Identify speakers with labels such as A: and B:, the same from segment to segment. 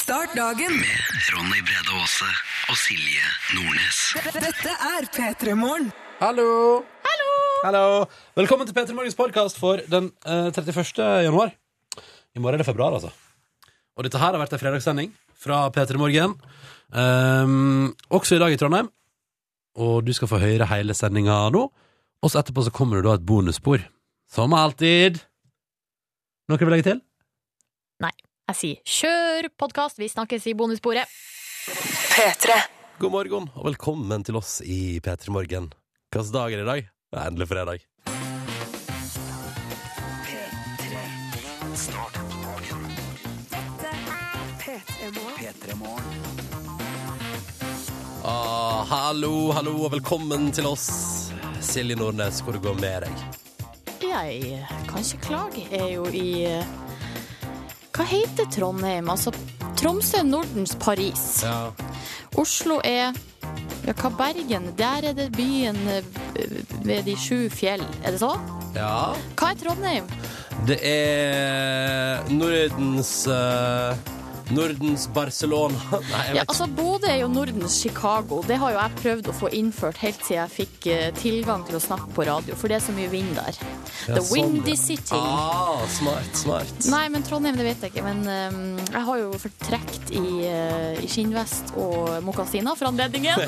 A: Start dagen.
B: med Ronny Brede Aase og Silje Nordnes.
A: Dette er P3 Morgen.
C: Hallo! Hallo! Velkommen til P3 Morgens podkast for den eh, 31. januar. I morgen er det februar, altså. Og dette her har vært en fredagssending fra P3 Morgen. Ehm, også i dag i Trondheim. Og du skal få høre hele sendinga nå. Og så etterpå så kommer det da et bonusspor. Som alltid. Noe du vil legge til?
D: Jeg sier kjør podkast, vi snakkes i bonussporet.
A: P3.
E: God morgen, og velkommen til oss i P3 Morgen. Hvilken dag er det i dag? Det er endelig fredag. Ah, hallo, hallo, og velkommen til oss. Silje Nordnes, hvor det går med deg?
D: Jeg kan ikke klage. Jeg er jo i eh, Hva heter Trondheim? Altså Tromsø er Nordens Paris.
E: Ja.
D: Oslo er ja, hva Bergen? Der er det byen eh, ved de sju fjell. Er det sånn?
E: ja.
D: Hva er Trondheim?
E: Det er Nordens eh, Nordens Barcelona. Nei, jeg
D: Ja,
E: vet
D: altså Bodø er jo Nordens Chicago. Det har jo jeg prøvd å få innført helt siden jeg fikk eh, tilgang til å snakke på radio, for det er så mye vind der.
E: Ja,
D: The
E: sånn,
D: Windy
E: ja.
D: City.
E: Ah, smart, smart.
D: Nei, men Trondheim, det vet jeg ikke. Men ehm, jeg har jo fortrekt i, eh, i skinnvest og mokasiner for anledningen.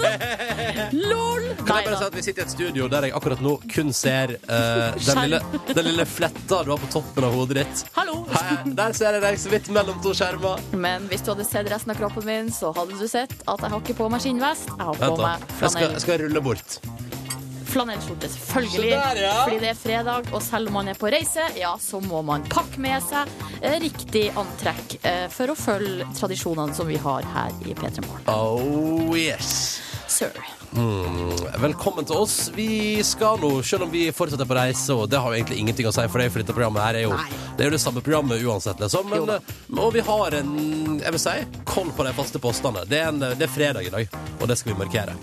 D: LOL!
E: Kan
D: Nei
E: jeg bare si
D: da.
E: at Vi sitter i et studio der jeg akkurat nå kun ser eh, den,
D: Skjerm.
E: lille, den lille fletta du har på toppen av hodet ditt.
D: Hallo!
E: Her, der ser jeg deg så vidt mellom to skjermer.
D: Men hvis du hadde sett resten av kroppen min, så hadde du sett at jeg har ikke på meg skinnvest. Jeg har på
E: Vent, da.
D: meg
E: Jeg skal,
D: flanell.
E: jeg skal rulle bort.
D: flanellskjorte, selvfølgelig.
E: Så der, ja.
D: Fordi det er fredag, og selv om man er på reise, ja, så må man pakke med seg eh, riktig antrekk eh, for å følge tradisjonene som vi har her i P3 Morgen.
E: Oh yes.
D: Sir.
E: Mm, velkommen til oss. Vi skal nå, selv om vi fortsatt er på reise, og det har jo egentlig ingenting å si for deg, for dette programmet her er jo,
D: Nei.
E: det, er jo det samme programmet uansett, liksom.
D: Jo
E: Men,
D: da.
E: eh, og vi har en, jeg vil si, koll på de faste postene. Det er, en, det er fredag i dag, og det skal vi markere.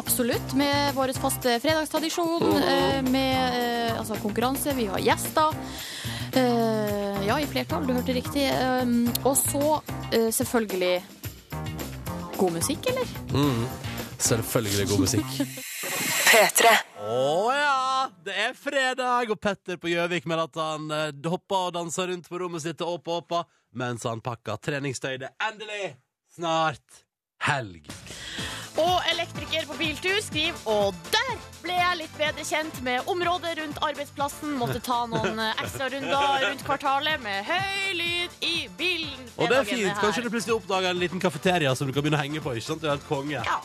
D: Absolutt, med vår faste fredagstradisjon, eh, med eh, altså konkurranse, vi har gjester. Eh, ja, i flertall, du hørte riktig. Um, og så eh, selvfølgelig god musikk, eller?
E: Selvfølgelig god musikk.
A: P3.
E: Å ja, det er fredag, og Petter på Gjøvik med at han eh, hopper og danser rundt på rommet sitt og åpa åpa, mens han pakker treningstøy. Det er endelig snart helg.
F: Og elektriker på biltur skriver Og der ble jeg litt bedre kjent med området rundt arbeidsplassen. Måtte ta noen eh, ekstra runder rundt kvartalet med høy lyd i bilen.
E: Og det er
F: Fredagen
E: fint.
F: her.
E: Kanskje du plutselig oppdager en liten kafeteria som du kan begynne å henge på. ikke sant? Det er helt konge.
F: Ja,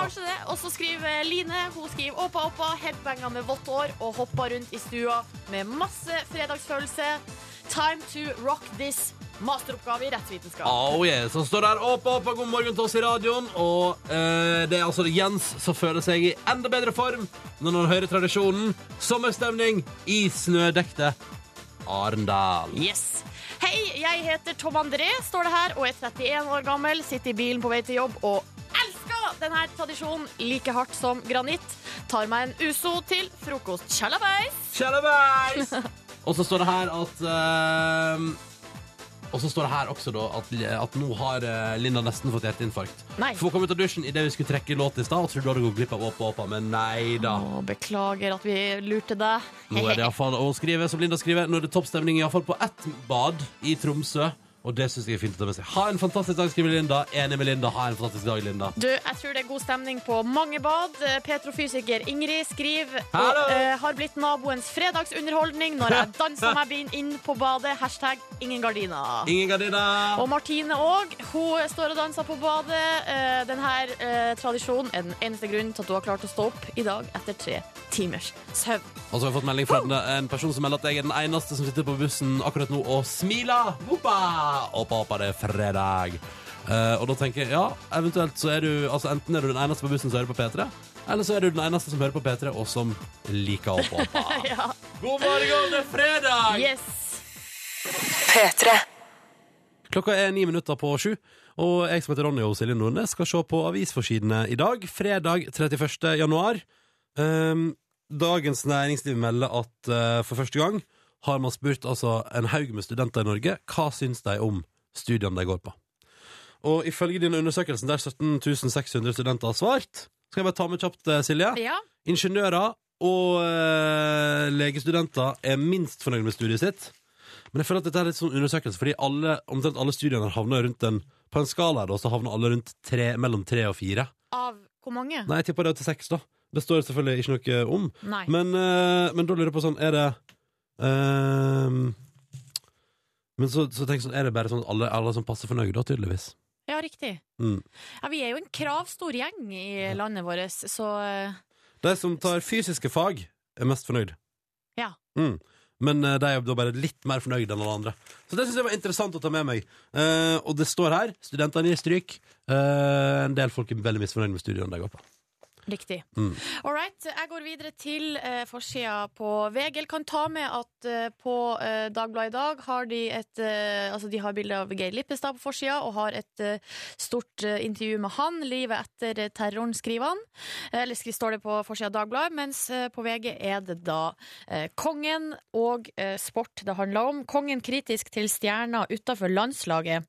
F: kanskje det. Og så skriver Line. Hun skriver oppa, oppa, headbanga med vått hår og hoppa rundt i stua med masse fredagsfølelse. Time to rock this. Masteroppgave i rettsvitenskap.
E: Oh yes, Han står der åpa åpa, god morgen til oss i radioen. Og eh, det er altså Jens som føler seg i enda bedre form når han hører tradisjonen. Sommerstemning i snødekte Arendal.
F: Yes. Hei, jeg heter Tom André, står det her, og er 31 år gammel. Sitter i bilen på vei til jobb og elsker denne tradisjonen like hardt som granitt. Tar meg en uso til frokost. Tjallabais!
E: Kjellabais! Og så står det her at ehm, Og så står det her også da at, at nå har eh, Linda nesten fått hjerteinfarkt.
F: Nei.
E: For hun kom ut av dusjen idet vi skulle trekke låt i stad og trodde hun hadde gått glipp av Åpa Åpa, men nei da.
F: Å, beklager at vi lurte deg.
E: Nå er det iallfall å skrive, som Linda skriver, nå er det toppstemning iallfall på ett bad i Tromsø. Og det syns jeg er fint å ta med seg. Ha en fantastisk dag, skriver Linda. Enig med Linda. Ha en fantastisk dag, Linda.
F: Du, jeg tror det er god stemning på mange bad. Eh, Petrofysiker Ingrid skriver
E: Hallo!
F: og, eh, har blitt naboens fredagsunderholdning når jeg danser meg inn- inn på badet. Hashtag ingen gardiner.
E: Ingen gardiner.
F: Og Martine òg. Hun står og danser på badet. Eh, Den her eh, tradisjonen er den eneste grunnen til at hun har klart å stå opp i dag etter tre timers søvn.
E: Og så har jeg fått melding fra en, en person som melder at jeg er den eneste som sitter på bussen akkurat nå og smiler. Hoppa! Hoppa, hoppa, det er fredag. Eh, og da tenker jeg, ja, eventuelt så er du altså Enten er du den eneste på bussen som hører på P3, eller så er du den eneste som hører på P3, og som liker Hoppa, hoppa. God morgen, det er fredag!
F: Yes!
A: P3.
E: Klokka er ni minutter på sju, og jeg som heter Ronny og Silje Nordnes skal se på avisforsidene i dag, fredag 31. januar. Ehm, Dagens Næringsliv melder at eh, for første gang har man spurt altså, en haug med studenter i Norge hva syns de om studiene de går på. Og ifølge denne undersøkelsen der 17 600 studenter har svart Skal jeg bare ta med kjapt, eh, Silje?
F: Ja.
E: Ingeniører og eh, legestudenter er minst fornøyd med studiet sitt. Men jeg føler at dette er litt sånn undersøkelse, fordi alle, omtrent alle studiene havner rundt en På en skala her da, så havner alle rundt tre, mellom tre og fire.
F: Av hvor mange?
E: Nei, jeg tipper det er til seks, da. Det står selvfølgelig ikke noe om.
F: Nei.
E: Men, eh, men da lurer jeg på sånn, er det ehm, Men så, så tenk sånn, er det bare sånn alle, alle som passer fornøyd, da, tydeligvis.
F: Ja, riktig.
E: Mm.
F: Ja, vi er jo en kravstor gjeng i landet vårt, så eh,
E: De som tar fysiske fag, er mest fornøyd.
F: Ja.
E: Mm. Men eh, de er da bare litt mer fornøyd enn alle andre. Så det syns jeg var interessant å ta med meg. Eh, og det står her studentene gir stryk. Eh, en del folk er veldig misfornøyd med studiene de går på.
F: Riktig.
E: Mm.
F: All right, jeg går videre til eh, forsida på VG. Eller kan ta med at eh, på eh, Dagbladet i dag har de et eh, Altså, de har bilde av Geir Lippestad på forsida og har et eh, stort eh, intervju med han. Livet etter eh, terroren, skriver han. Eh, Eller skri- står det på forsida av Dagbladet. Mens eh, på VG er det da eh, kongen og eh, sport det handler om. Kongen kritisk til stjerna utafor landslaget.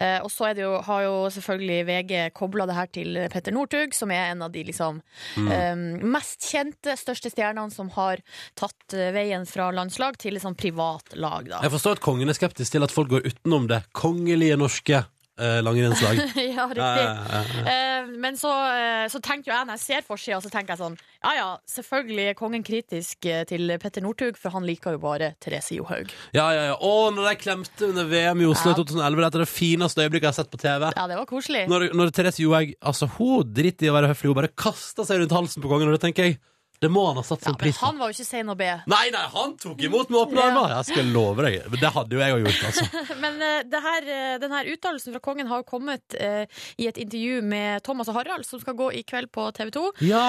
F: Eh, og så er det jo, har jo selvfølgelig VG kobla det her til Petter Northug, som er en av de liksom
E: Mm.
F: eh, mest kjente, største stjernene som har tatt eh, veien fra landslag til et sånn privat lag, da.
E: Jeg forstår at kongen er skeptisk til at folk går utenom det kongelige norske eh, langrennslag.
F: ja, riktig. Eh, men så, eh, så tenker jo jeg, når jeg ser forsida, så tenker jeg sånn Ja ja, selvfølgelig er kongen kritisk eh, til Petter Northug, for han liker jo bare Therese Johaug.
E: Ja, ja, ja. Å, når de klemte under VM i Oslo i
F: Ja.
E: 2011. Dette er det fineste øyeblikket jeg har sett på TV.
F: Ja, det var koselig.
E: Når, når Therese Johaug altså, Hun driter i å være høflig, hun bare kaster seg rundt halsen på kongen. Og det tenker jeg, det må han ha satt
F: Ja,
E: sin
F: men
E: pris på.
F: han var jo ikke sein å be.
E: Nei, nei, han tok imot med åpne
F: Ja.
E: armer! Jeg skal love deg. Men Det hadde jo jeg òg gjort, altså.
F: Men eh, det her, eh, den her uttalelsen fra kongen har jo kommet eh, i et intervju med Thomas og Harald, som skal gå i kveld på TV 2.
E: Ja.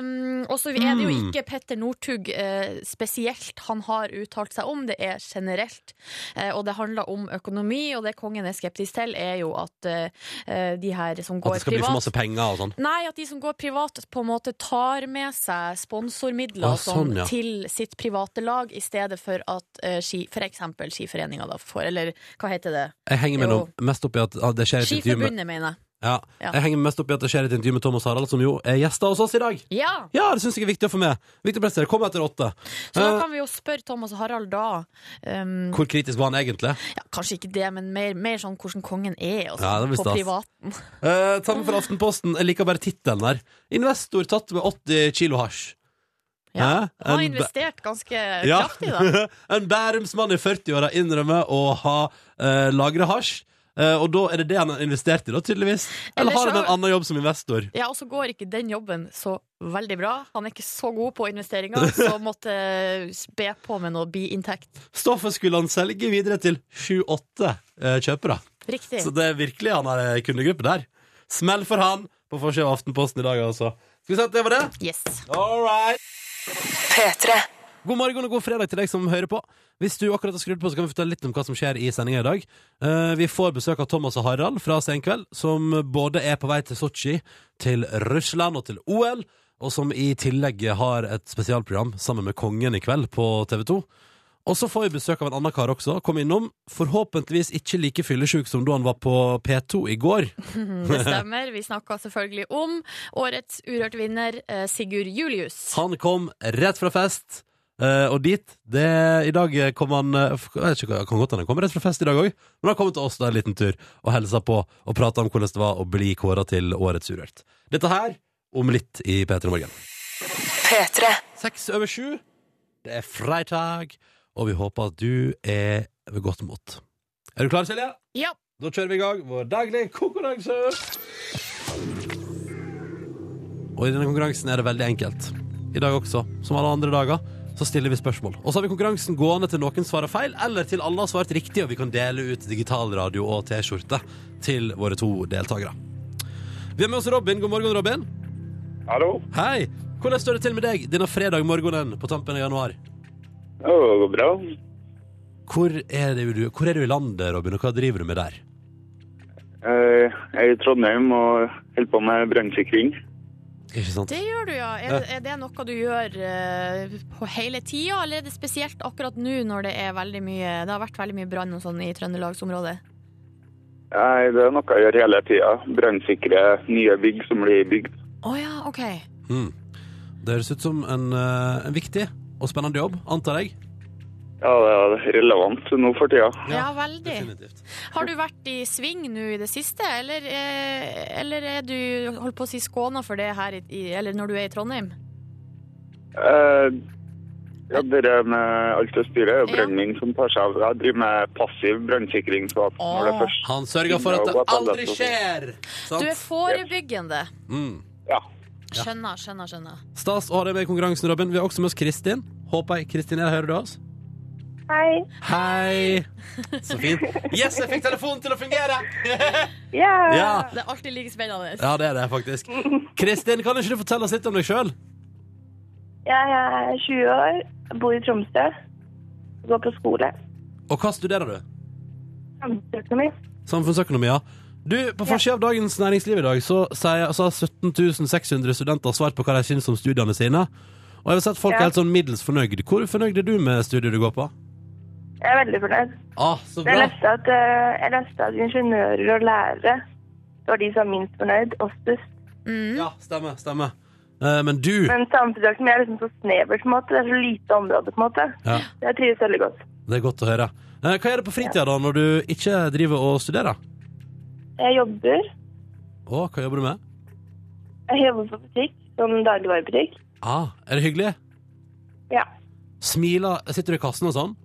F: Um, og så er det jo
E: Mm.
F: ikke Petter Northug eh, spesielt han har uttalt seg om, det er generelt. Eh, og det handler om økonomi, og det kongen er skeptisk til, er jo at eh, de her som
E: At det
F: går
E: skal bli for
F: privat
E: masse penger og sånn.
F: Nei, at de som går privat på en måte tar med seg sponsormidler
E: Ah, sånn,
F: sånn,
E: ja.
F: til sitt private lag, i stedet for at eh, ski, for eksempel skiforeninga da får, eller hva heter det?
E: Jeg henger meg nå
F: Jo.
E: mest opp i at ah, det skjer et intervju med
F: Skiforbundet, mener jeg.
E: ja.
F: Ja.
E: Jeg henger meg mest opp i at det skjer et intervju med Thomas Harald, som jo er gjester hos oss i dag.
F: Ja!
E: Ja, det syns jeg er viktig å få med. Viktig å prestere. Kom etter åtte.
F: Så da
E: Eh,
F: kan vi jo spørre Thomas og Harald da. Um,
E: Hvor kritisk var han egentlig?
F: ja, kanskje ikke det, men mer, mer sånn hvordan kongen er, og
E: Ja,
F: sånn,
E: det blir
F: på
E: stas.
F: privaten.
E: Uh, ta med fra Aftenposten. Jeg liker bare tittelen der. Investor tatt med 80 kilo hasj.
F: Ja,
E: Hæ?
F: Han har
E: En bæ-
F: investert ganske
E: Eh, Ja.
F: kraftig, da.
E: en bærumsmann i 40-åra innrømmer å ha uh, lagra hasj. Eh, og da er det det han har investert i, da, tydeligvis.
F: Ellers
E: Eller har han
F: så-
E: en annen jobb som investor?
F: Ja, og så går ikke den jobben så veldig bra. Han er ikke så god på investeringer, så måtte eh, be på med noe biinntekt.
E: Stoffet skulle han selge videre til 7-8 eh, kjøpere.
F: Riktig.
E: Så det er virkelig han har ei kundegruppe der. Smell for han på forsida av Aftenposten i dag, altså. Skal vi si at det var det?
F: Yes.
E: All right.
A: P3.
E: God morgen og god fredag til deg som hører på. Hvis du akkurat har skrudd på, så kan vi fortelle litt om hva som skjer i sendinga i dag. Eh, vi får besøk av Thomas og Harald fra Senkveld, som både er på vei til Sotsji, til Russland og til OL, og som i tillegg har et spesialprogram sammen med Kongen i kveld på TV 2. Og så får vi besøk av en annen kar også. Kom innom. Forhåpentligvis ikke like fyllesyk som da han var på P2 i går.
F: Det stemmer. Vi snakka selvfølgelig om årets urørt vinner, eh, Sigurd Julius.
E: Han kom rett fra fest. eh, og dit det, I dag eh, kom han eh, f- Jeg vet ikke, hva- kan godt hende han kom rett fra fest i dag òg, men han kom til oss da en liten tur og hilsa på og prata om hvordan det var å bli kåra til Årets Urørt. Dette her om litt i P3 Morgen.
A: P3.
E: Seks over sju. Det er fredag, og vi håper at du er ved godt mot. Er du klar, Silje?
F: Ja.
E: Da kjører vi i gang vår daglige konkurranse. Og i denne konkurransen er det veldig enkelt. I dag også, som alle andre dager, så stiller vi spørsmål. Og så har vi konkurransen gående til noen svarer feil, eller til alle har svart riktig, og vi kan dele ut digitalradio og T-skjorte til våre to deltakere. Vi har med oss Robin. God morgen, Robin.
G: Hallo?
E: Hei! Hvordan står det til med deg denne fredag morgenen på tampen av januar?
G: Ja, Det går bra.
E: Hvor er, det du, hvor er du i landet, Robin, og hva driver du med der?
G: Eh, Jeg er i Trondheim og holder på med brannsikring.
E: Ikke sant?
F: Det gjør du, ja. Er, er det noe du gjør eh, på hele tida, eller er det spesielt akkurat nå når det er veldig mye Det har vært veldig mye brann og sånn i Trøndelagsområdet?
G: Nei, det er noe jeg gjør hele tida. Brannsikre nye bygg som blir bygd.
F: Å ja, OK.
E: Det høres ut som en, eh, en viktig og spennende jobb, antar jeg.
G: Ja, det er relevant nå for tida.
F: Ja, veldig.
E: Definitivt.
F: Har du vært i sving nå i det siste, eller, eh, eller er du holdt på å si skåna for det her i, i- eller når du er i Trondheim?
G: Eh, ja, det der med alt det styret er jo brannen min som tar seg av. Jeg driver med passiv brannsikring. Så at når det
F: Åh.
G: først
E: Han sørger for at det sånn. aldri skjer!
F: Du er
E: Sant?
F: forebyggende.
E: Mm.
G: Ja.
F: Skjønner, skjønner, skjønner.
E: Stas å ha deg med i konkurransen, Robin. Vi har også med oss Kristin. Håper jeg. Kristin, her hører du oss?
H: Hei.
E: Hei! Så fint. Yes, jeg fikk telefonen til å fungere!
H: Ja.
E: Ja,
F: Det er alltid like spennende.
E: ja det er det, faktisk. Kristin, kan ikke du fortelle oss litt om deg sjøl?
H: Jeg er 20 år, bor i Tromsø, går på skole.
E: Og hva studerer du?
H: Samfunnsøkonomi.
E: Samfunnsøkonomi, ja. Du, På forsida av Dagens Næringsliv i dag så sier- altså, så har 17 600 studenter svart på hva de syns om studiene sine. Og jeg har sett folk er
H: Ja.
E: helt sånn middels fornøyd. Hvor fornøyd er du med studiet du går på?
H: Jeg er veldig fornøyd.
E: Ah, så
H: Jeg
E: bra.
H: leste at, eh, jeg leste at ingeniører og lærere var de som var minst fornøyd, oftest.
E: Ja, stemmer, stemmer. Eh, men du
H: Men samfunnsøkonomi er liksom så snevert, på en måte. Det er så lite område, på en måte.
E: Ja.
H: Så Jeg trives veldig godt.
E: Det er godt å høre. Eh, Hva gjør du på fritida da, når du ikke driver og studerer?
H: Jeg jobber.
E: Å, hva jobber du med?
H: Jeg jobber på butikk, som dagligvarebutikk.
E: Ah, er det hyggelig?
H: Ja.
E: Smiler, sitter du i kassen og sånn?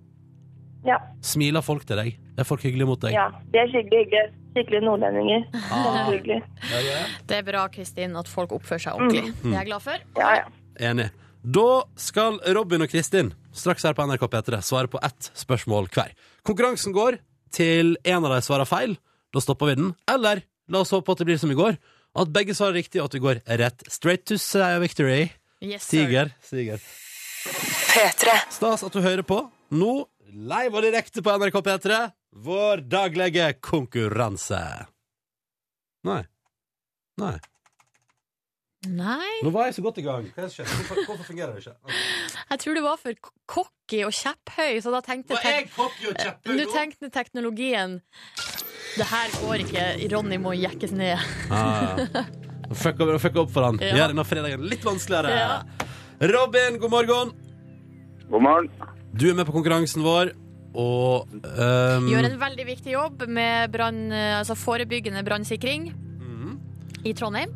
H: Ja.
E: Smiler folk til deg? Er folk hyggelige mot deg?
H: ja. De er skikkelig hyggelige. Skikkelig nordlendinger.
E: Ah.
H: Selvfølgelig.
E: Ja, ja, ja.
F: Det er bra, Kristin, at folk oppfører seg ordentlig.
I: Mm.
F: Det er jeg glad for.
H: Ja, ja.
E: Enig. Da skal Robin og Kristin straks her på NRK P3 svare på ett spørsmål hver. Konkurransen går til en av de svarer feil. Da stopper vi den. Eller la oss håpe at det blir som i går. At begge svarer riktig, og at vi går rett straight to seier victory.
F: Yes, sir.
E: Siger. Siger.
A: P3.
E: Stas at du hører på. Nå live og direkte på NRK P3, vår daglige konkurranse. Nei. Nei.
F: Nei,
E: Nå var jeg så godt i gang. Hva er det som skjer? Hvorfor, hvorfor fungerer det ikke? Ok.
F: jeg tror du var for k- cocky og kjepphøy, så da tenkte
E: Var jeg cocky og kjepphøy
F: Nå
E: nå?
F: tenkte teknologien Det her går ikke. Ronny må jekkes ned.
E: Ah, ja. fuck, over, fuck opp for han.
F: Ja.
E: Gjør denne fredagen litt vanskeligere.
F: Ja.
E: Robin, god morgen.
G: God morgen.
E: Du er med på konkurransen vår, og ehm,
F: Gjør en veldig viktig jobb med brann, altså forebyggende brannsikring
E: Mhm.
F: i Trondheim.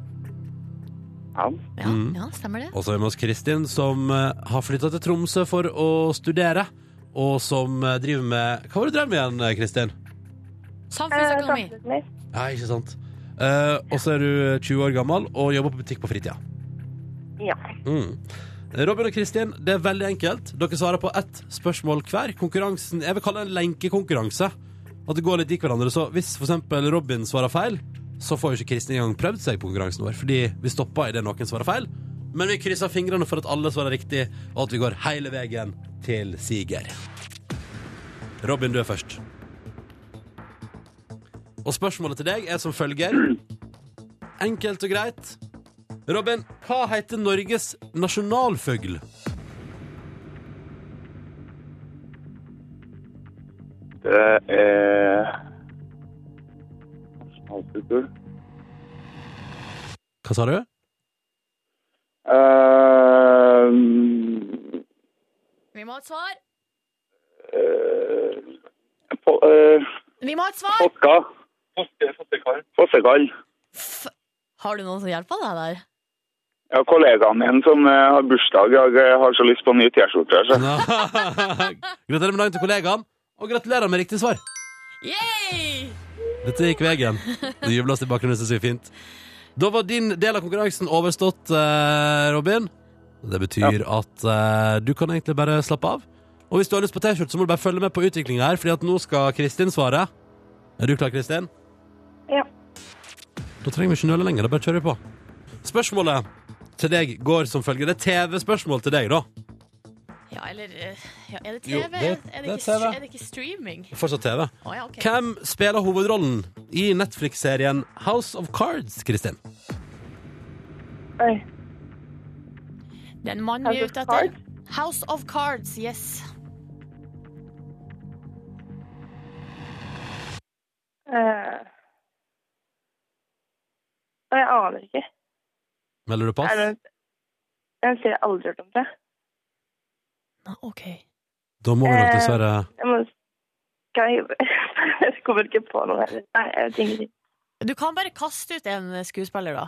G: Ja.
F: Ja, ja, stemmer det.
E: Og så er vi med oss Kristin, som eh, har flytta til Tromsø for å studere. Og som eh, driver med Hva var det du drev med igjen, eh, Kristin?
H: Eh,
F: Samfunnsøkonomi.
H: Samfunnsøkonomi.
E: Ja, ikke sant. Eh, og så er du 20 år gammel og jobber på butikk på fritida.
H: Ja.
E: Mm. Robin og Kristin, det er veldig enkelt. Dere svarer på ett spørsmål hver. Konkurransen jeg vil kalle det en lenkekonkurranse. At det går litt i hverandre. Så hvis for eksempel Robin svarer feil, så får jo ikke Kristin engang prøvd seg på konkurransen vår, fordi vi stopper idet noen svarer feil. Men vi krysser fingrene for at alle svarer riktig, og at vi går hele veien til siger. Robin, du er først. Og spørsmålet til deg er som følger. Enkelt og greit. Robin, hva heter Norges nasjonalfugl?
G: Det er Nasjonalkultur.
E: Hva sa du?
G: Eh,
F: Vi må ha et svar!
G: eh, på- eh,
F: Vi må ha et svar!
G: Fokka. Fossekall. Fossekall.
F: Har du noen som hjelper deg der?
G: Ja, kollegaen min som eh, har bursdag i dag, eh, har så lyst på ny T-skjorte. så.
E: gratulerer med dagen til kollegaen, og gratulerer med riktig svar.
F: Yay!
E: Dette gikk veien. Det jubles i bakgrunnen, synes jeg er fint. Da var din del av konkurransen overstått, eh, Robin. Det betyr at eh, du kan egentlig bare slappe av. Og hvis du har lyst på T-skjorte, så må du bare følge med på utviklingen her, fordi at nå skal Kristin svare. Er du klar, Kristin?
H: Ja.
E: Da trenger vi ikke nøle lenger, da bare kjører vi på. Spørsmålet til deg går som følger. Det er TV-spørsmål til deg, da.
F: Ja, eller eh, ja, Er det TV?
E: Jo, det-
F: er, det
E: det er
F: ikke, str-
E: TV.
F: er det ikke streaming?
E: Fortsatt TV.
F: Å ja, OK.
E: Hvem spiller hovedrollen i Netflix-serien House of Cards, Kristin?
H: Oi.
F: Det er en mann
H: House
F: vi er
H: of
F: ute etter. House of Cards, yes.
H: Eh, Og jeg aner ikke.
E: Melder du pass?
H: Er det noe... Jeg ser jeg har aldri hørt om det.
D: Nei, OK.
E: Da må vi nok
H: Eh,
E: dessverre
H: Jeg må... Kan jeg... jeg kommer ikke på noe heller. Nei, jeg vet ingenting.
F: Du kan bare kaste ut en skuespiller, da.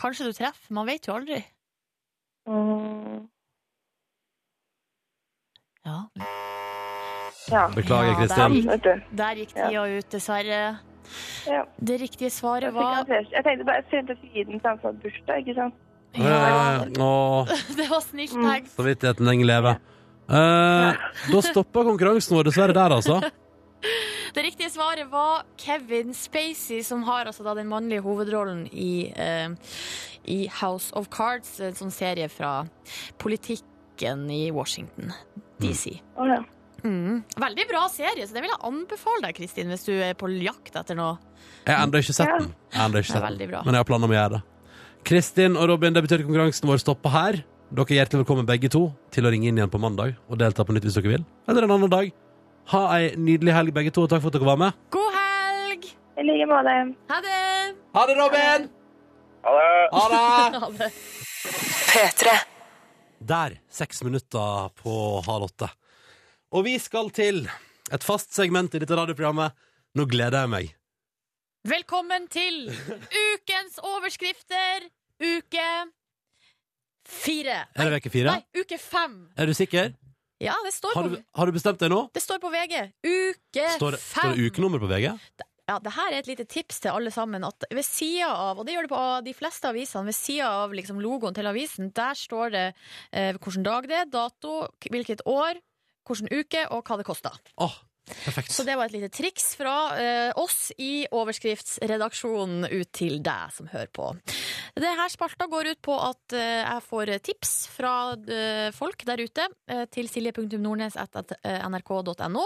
F: Kanskje du treffer. Man vet jo aldri.
H: Mm,
F: Ja.
H: Ja,
E: Beklager,
F: Ja,
E: Kristin.
F: det
H: vet du.
F: Der gikk tida ut, dessverre.
H: Ja.
F: Det riktige
H: Jeg,
F: svaret
H: fikk
F: var
H: adresse. jeg tenkte bare, jeg sendte til Iden til han som har bursdag, ikke sant?
E: Eh, Åh,
F: Det var snilt
H: Mm.
F: tenkt.
E: samvittigheten lenge leve. Eh, da stoppa konkurransen vår dessverre der, altså.
F: Det riktige svaret var Kevin Spacey, som har altså da den mannlige hovedrollen i, eh, i House of Cards, en sånn serie fra politikken i Washington DC.
H: Å ja.
F: Mm. Veldig bra serie, så det vil jeg anbefale deg, Kristin, hvis du er på jakt etter noe.
E: Jeg har ennå ikke sett den. Jeg har enda ikke
F: Det er
E: sett den.
F: veldig bra.
E: Men jeg har planer om å gjøre det. Kristin og Robin, det betyr at konkurransen vår stopper her. Dere er hjertelig velkommen begge to til å ringe inn igjen på mandag og delta på nytt hvis dere vil. Eller en annen dag. Ha ei nydelig helg, begge to, og takk for at dere var med.
F: God helg!
H: I like måte.
F: Ha det!
E: Ha det, Robin!
G: Ha det!
E: Ha det!
F: Ha det.
A: P3.
E: Der, seks minutter på halv åtte. Og vi skal til et fast segment i dette radioprogrammet. Nå gleder jeg meg.
F: Velkommen til ukens overskrifter, uke fire.
E: Er det uke fire?
F: Nei, uke fem.
E: Er du sikker?
F: Ja, det står
E: Har
F: på
E: du, har du bestemt deg nå?
F: Det står på VG. Uke
E: Står,
F: Eh, fem.
E: står det ukenummer på VG?
F: Ja, det her er et lite tips til alle sammen. At ved sida av, og det gjør det på de fleste avisene, ved sida av liksom logoen til avisen, der står det eh, hvilken dag det er, dato, k- hvilket år, hvilken uke og hva det koster.
E: Åh, perfekt.
F: Så det var et lite triks fra eh, oss i overskriftsredaksjonen ut til deg som hører på. Det her spalta går ut på at eh, jeg får tips fra eh, folk der ute eh, til silje.nordnes.nrk.no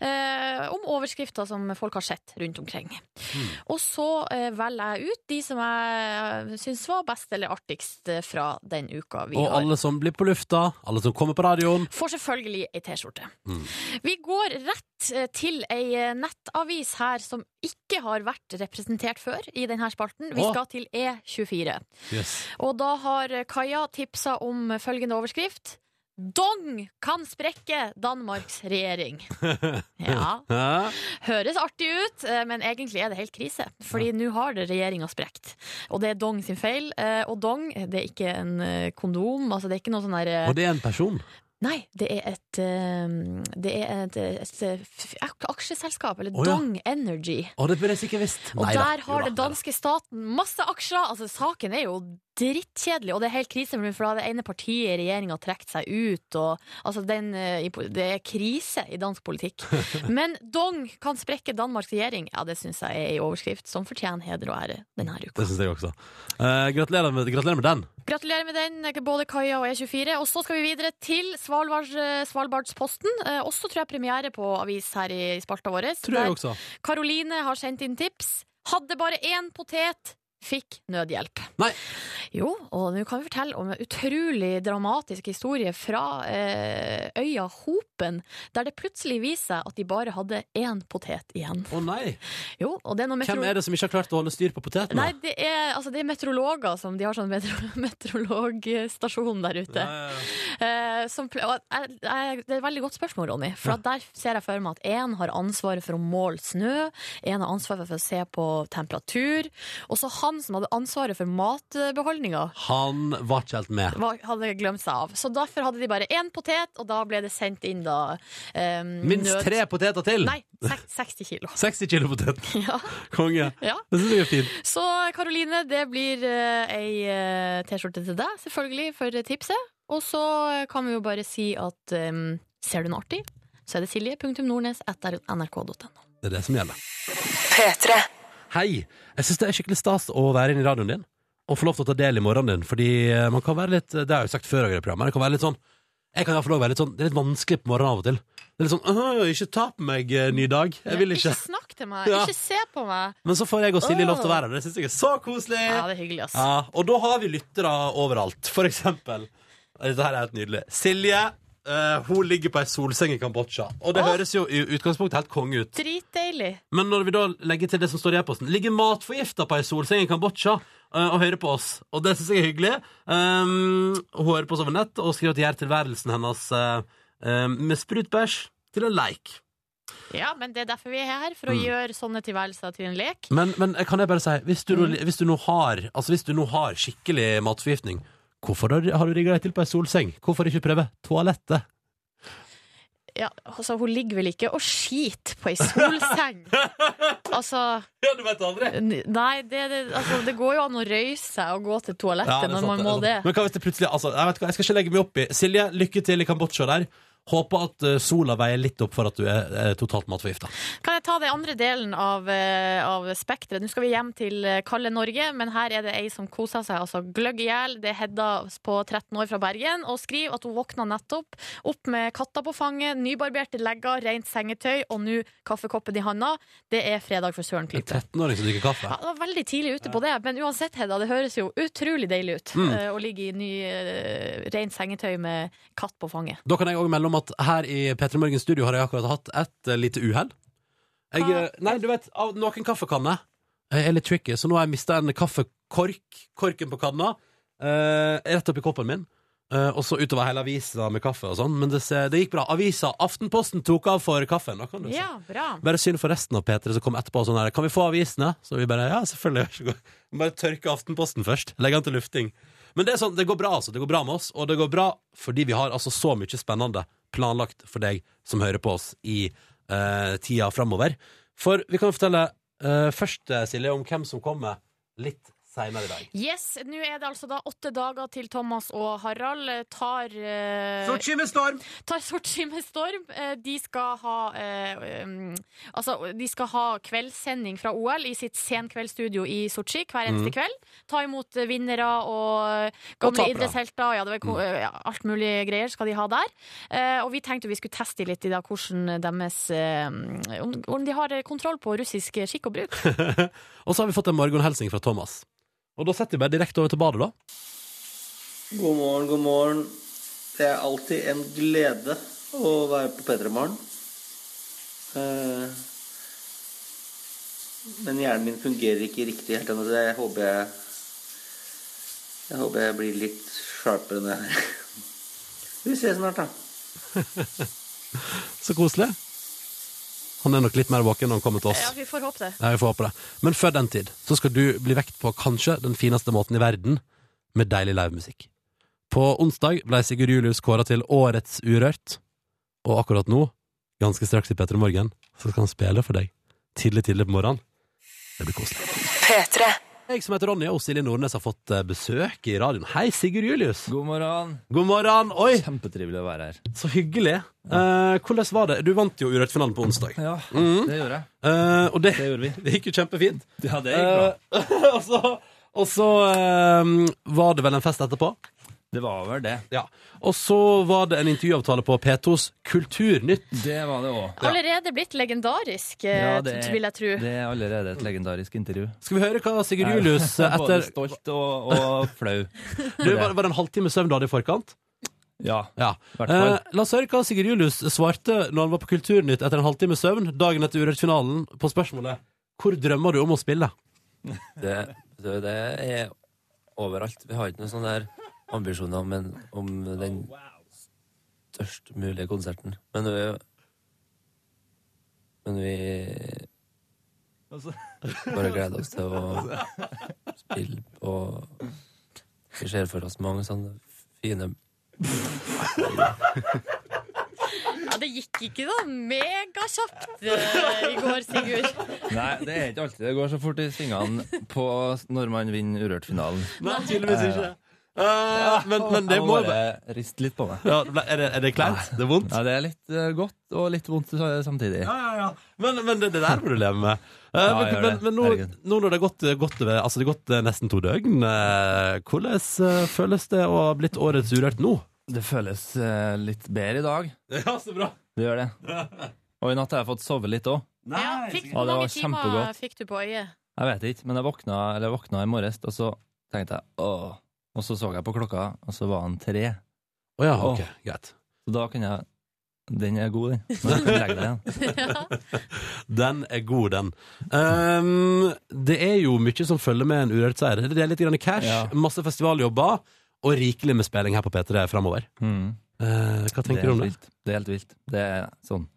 F: eh, om overskrifter som folk har sett rundt omkring.
E: Hmm.
F: Og så eh, velger jeg ut de som jeg syns var best eller artigst eh, fra den uka vi
E: Og
F: har.
E: alle som blir på lufta, alle som kommer på radioen.
F: Får selvfølgelig ei T-skjorte.
E: Mm.
F: Vi går rett eh, til ei eh, nettavis her som ikke har vært representert før i denne spalten. Vi
E: Å.
F: skal til E24.
E: Yes.
F: Og da har eh, Kaja tipsa om følgende overskrift. Dong kan sprekke Danmarks regjering. Ja,
E: Hæ?
F: høres artig ut, eh, men egentlig er det helt krise. Fordi nå har det regjeringa sprekt. Og det er Dong sin feil. eh, Og Dong, det er ikke en eh, kondom, altså det er ikke noe sånn der eh,
E: Og det er en person.
F: Nei, det er et, eh, det er et, et, eh, f- aksjeselskap, eller
E: Å, ja.
F: Dong Energy.
E: Og det burde jeg sikkert visst.
F: Og
E: Nei da.
F: der har
E: Jo da,
F: den danske staten masse aksjer. Altså, saken er jo drittkjedelig, og det er helt krise, for da har det ene partiet i regjeringa trukket seg ut, og altså, den, eh, i po- det er krise i dansk politikk. Men Dong kan sprekke Danmarks regjering. Ja, det syns jeg er ei overskrift som fortjener heder og ære denne
E: nei da. Det
F: uka.
E: syns jeg også. Eh, gratulerer, med, gratulerer med den.
F: Gratulerer med den, både Kaja og E24. Og så skal vi videre til Svalbard, Svalbardsposten. Eh, også tror jeg premiere på avis her i spalta vår.
E: Tror jeg også.
F: Karoline har sendt inn tips. Hadde bare én potet. Fikk nødhjelp.
E: Nei.
F: Jo, og nå kan vi fortelle om en utrolig dramatisk historie fra eh, øya Hopen, der det plutselig viser seg at de bare hadde én potet igjen.
E: Å nei!
F: Jo, og det er noe
E: Hvem
F: meteor-
E: er det som ikke har klart å holde styr på
F: Nei,
E: potetene?
F: det er, altså, det er meteorologer som De har sånn metro, meteorologstasjon der ute.
E: Ja, ja, ja.
F: Eh, som, ple- og jeg, jeg, det er et veldig godt spørsmål, Ronny. For at der ser jeg for meg at én har ansvaret for å måle snø, én har ansvaret for å se på temperatur. Og så han som hadde ansvaret for matbeholdninga,
E: Han var ikke helt med.
F: var- hadde glemt seg av. Så derfor hadde de bare én potet, og da ble det sendt inn da eh,
E: Minst
F: nød-
E: tre poteter til!
F: Nei, sek- 60 kilo.
E: 60 kilo potet.
F: Ja,
E: Konge.
F: ja.
E: Det syns jeg er fint.
F: Så Karoline, det blir eh, ei eh, T-skjorte til deg, selvfølgelig, for tipset. Og så eh, kan vi jo bare si at eh, ser du noe artig, så er det silje.nordnes etter nrk.no.
E: Det er det som gjelder.
A: P3.
E: Hei! Jeg syns det er skikkelig stas å være inne i radioen din og få lov til å ta del i morgenen din, fordi eh, man kan være litt Det har jeg jo sagt før, i det programmet, men det kan være litt sånn jeg kan i hvert fall også være litt sånn, Det er litt vanskelig på morgenen av og til. Det er litt sånn «Åh, 'Ikke ta på meg, eh, ny dag'. Jeg vil ikke.
F: snakk til meg,
E: Ja.
F: ikke se på meg.
E: Men så får jeg og Silje lov til å være her. Det syns jeg er så koselig!
F: Ja, det er hyggelig, ass.
E: Ja, og da har vi lyttere overalt. For eksempel Dette her er helt nydelig. Silje eh, hun ligger på ei solseng i Kambodsja. Og det høres jo i utgangspunktet helt konge ut.
F: Dritdeilig.
E: Men når vi da legger til det som står i e-posten Ligger matforgifta på ei solseng i Kambodsja eh, og hører på oss. Og det syns jeg er hyggelig. Um, hun hører på oss over nett og skriver at gjør tilværelsen hennes eh, eh, med sprutbæsj til en leik.
F: Ja, men det er derfor vi er her, for å
E: Mm.
F: gjøre sånne tilværelser til en lek.
E: Men, men eh, kan jeg bare si, hvis du, nå- hvis, du nå har, altså hvis du nå har skikkelig matforgiftning, hvorfor har du- har du rigga deg til på ei solseng? Hvorfor ikke prøve toalettet?
F: Ja, altså, hun ligger vel ikke og skiter på ei solseng? altså
E: Ja, du vet aldri.
F: n- Nei, det, det, altså, det går jo an å røyse seg og gå til
E: Ja,
F: toalettet
E: det er
F: når
E: sant,
F: man
E: det er
F: må
E: sant.
F: det.
E: Men hva hvis det plutselig altså, jeg, vet hva, jeg skal ikke legge meg opp i Silje, lykke til i Kambodsja der. Håper at eh, sola veier litt opp for at du er eh, totalt matforgifta.
F: Kan jeg ta den andre delen av, eh, av spekteret? Nå skal vi hjem til eh, kalde Norge, men her er det ei som koser seg. altså Gløgg i hjel. Det er Hedda på 13 år fra Bergen og skriver at hun våkna nettopp opp med katta på fanget, nybarberte legger, rent sengetøy og nå kaffekoppen i handa. Det er fredag for Søren
E: En
F: Klype.
E: 13-åring som drikker kaffe.
F: Ja, det var veldig tidlig ute på det, men uansett, Hedda, det høres jo utrolig deilig ut
E: Mm.
F: eh, å ligge i ny, eh, rent sengetøy med katt på fanget.
E: Da kan jeg òg melde om at her i P3 Morgens studio har jeg akkurat hatt et eh, lite uhell. Jeg, eh, Nei, du vet, av noen kaffekanner eh, er litt tricky, så nå har jeg mista en kaffekork, korken på kanna, eh, rett oppi koppen min. eh, og så utover hele avisa med kaffe og sånn, men det, ser- det gikk bra. Avisa Aftenposten tok av for kaffen. Da kan du se.
F: Ja, bra.
E: Bare synd for resten av P3 som kom etterpå og sånn her Kan vi få avisene? Så vi bare, ja selvfølgelig, vær så god Bare tørke Aftenposten først, legge den til lufting Men det er sånn, det går bra altså, det går bra med oss Og det går bra fordi vi har altså så mye spennende Planlagt for deg som hører på oss I eh, tida fremover For vi kan jo fortelle eh, Først eh, Silje om hvem som kommer Litt senere i dag
F: Yes, nå er det altså da åtte dager til Thomas og Harald eh, tar eh,
E: med storm
F: Tar Sotsji med storm. Eh, De skal ha eh, um, Altså, de skal ha kveldssending fra OL i sitt senkveldsstudio i Sotsji hver eneste kveld. Ta imot eh, vinnere og eh, gamle
E: tapere.
F: idrettshelter. Ja, det var, ko- eh, ja, alt mulig greier skal de ha der. Eh, Og vi tenkte vi skulle teste litt i dag hvordan deres eh, Om om de har eh, kontroll på russisk skikk og bruk.
E: Og så har vi fått en morgenhelsing fra Thomas Og da setter vi bare direkte over til badet da
J: God morgen, god morgen. Det er alltid en glede å være på P3 Morgen. Eh, Men hjernen min fungerer ikke riktig helt ennå, så jeg håper jeg Jeg håper jeg blir litt sharpere enn jeg er. Vi ses snart, da.
E: Så koselig. Han er nok litt mer våken når han kommer til oss.
F: Ja, vi får håpe det.
E: Ja, vi får håpe det. Men før den tid så skal du bli vekt på kanskje den fineste måten i verden med deilig livemusikk. På onsdag ble Sigurd Julius kåra til Årets Urørt, og akkurat nå, ganske straks i P3 Morgen, så skal han spille for deg tidlig, tidlig på morgenen. Det blir koselig.
A: P3.
E: Jeg som heter Ronny og Silje Nordnes har fått eh, besøk i radioen. Hei, Sigurd Julius!
K: God morgen.
E: God morgen! Oi,
K: Kjempetrivelig å være her.
E: så hyggelig. Eh, hvordan var det? Du vant jo Urørt-finalen på onsdag.
K: Ja, det gjorde jeg.
E: Eh, og det,
K: Mm. Det gjorde vi.
E: det gikk jo kjempefint.
K: Ja, det gikk bra.
E: Eh, og så- og så eh, var det vel en fest etterpå.
K: Det var vel det.
E: Ja. Og så var det en intervjuavtale på P2s Kulturnytt.
K: Det var det òg.
F: Allerede blitt legendarisk, eh,
K: Ja, det er-
F: vil jeg tro.
K: Det er allerede et legendarisk intervju.
E: Skal vi høre hva Sigurd Julius eh,
K: Jeg er Både
E: etter
K: stolt og, og flau.
E: du, Var var det en halvtime søvn du hadde i forkant?
K: Ja.
E: Ja.
K: Hvertfall.
E: Eh, la oss høre hva Sigurd Julius svarte når han var på Kulturnytt etter en halvtime søvn dagen etter Urørt-finalen, på spørsmålet 'Hvor drømmer du om å spille?'
L: Det, det, det er overalt. Vi har ikke noen sånne der ambisjoner om, en, om den størst mulige konserten. Men vi Men vi bare gleder oss til å spille og Vi ser for oss mange sånne fine
F: Ja, det gikk ikke da megakjapt eh, i går, Sigurd.
K: Nei, det er ikke alltid det går så fort i svingene på når man vinner Urørt-finalen.
E: Nei, tydeligvis ikke. Eh, men, men det
K: Jeg
E: må
K: må
E: jo
K: bare riste litt på meg.
E: ja, det ble- Er det, er det kleint? Det er vondt?
K: Ja, det er litt eh, godt og litt vondt samtidig.
E: Ja, ja, ja. Men, men det, det der må du leve med. Eh,
K: Ja,
E: men
K: jeg gjør
E: men,
K: det.
E: men nå,
K: Herregud.
E: nå når det har gått, gått, over- altså det har gått eh, nesten to døgn, eh, hvordan eh, føles det å ha blitt årets Urørt nå?
K: Det føles eh, litt bedre i dag.
E: Ja, så bra.
K: Det gjør det. Og i natt har jeg fått sove litt òg.
F: Ja, fikk,
K: Ja,
F: hvor
K: det var
F: mange timer
K: kjempegodt.
F: fikk du på øyet?
K: Jeg vet ikke, men jeg våkna, eller jeg våkna i morges, og så tenkte jeg åh. Og så så jeg på klokka, og så var han tre.
E: Å ja, ok, greit.
K: Så da kan jeg Den er god, den. Nå kan jeg legge deg igjen.
E: Den er god, den. Ehm, det er jo mye som følger med en urørt seier. Det er litt grann cash, masse festivaljobber og rikelig med spilling her på P3 framover. Eh, hva
K: Mm. Det er
E: tenker du om
K: helt Vilt.
E: det?
K: Det er helt vilt. Det er sånn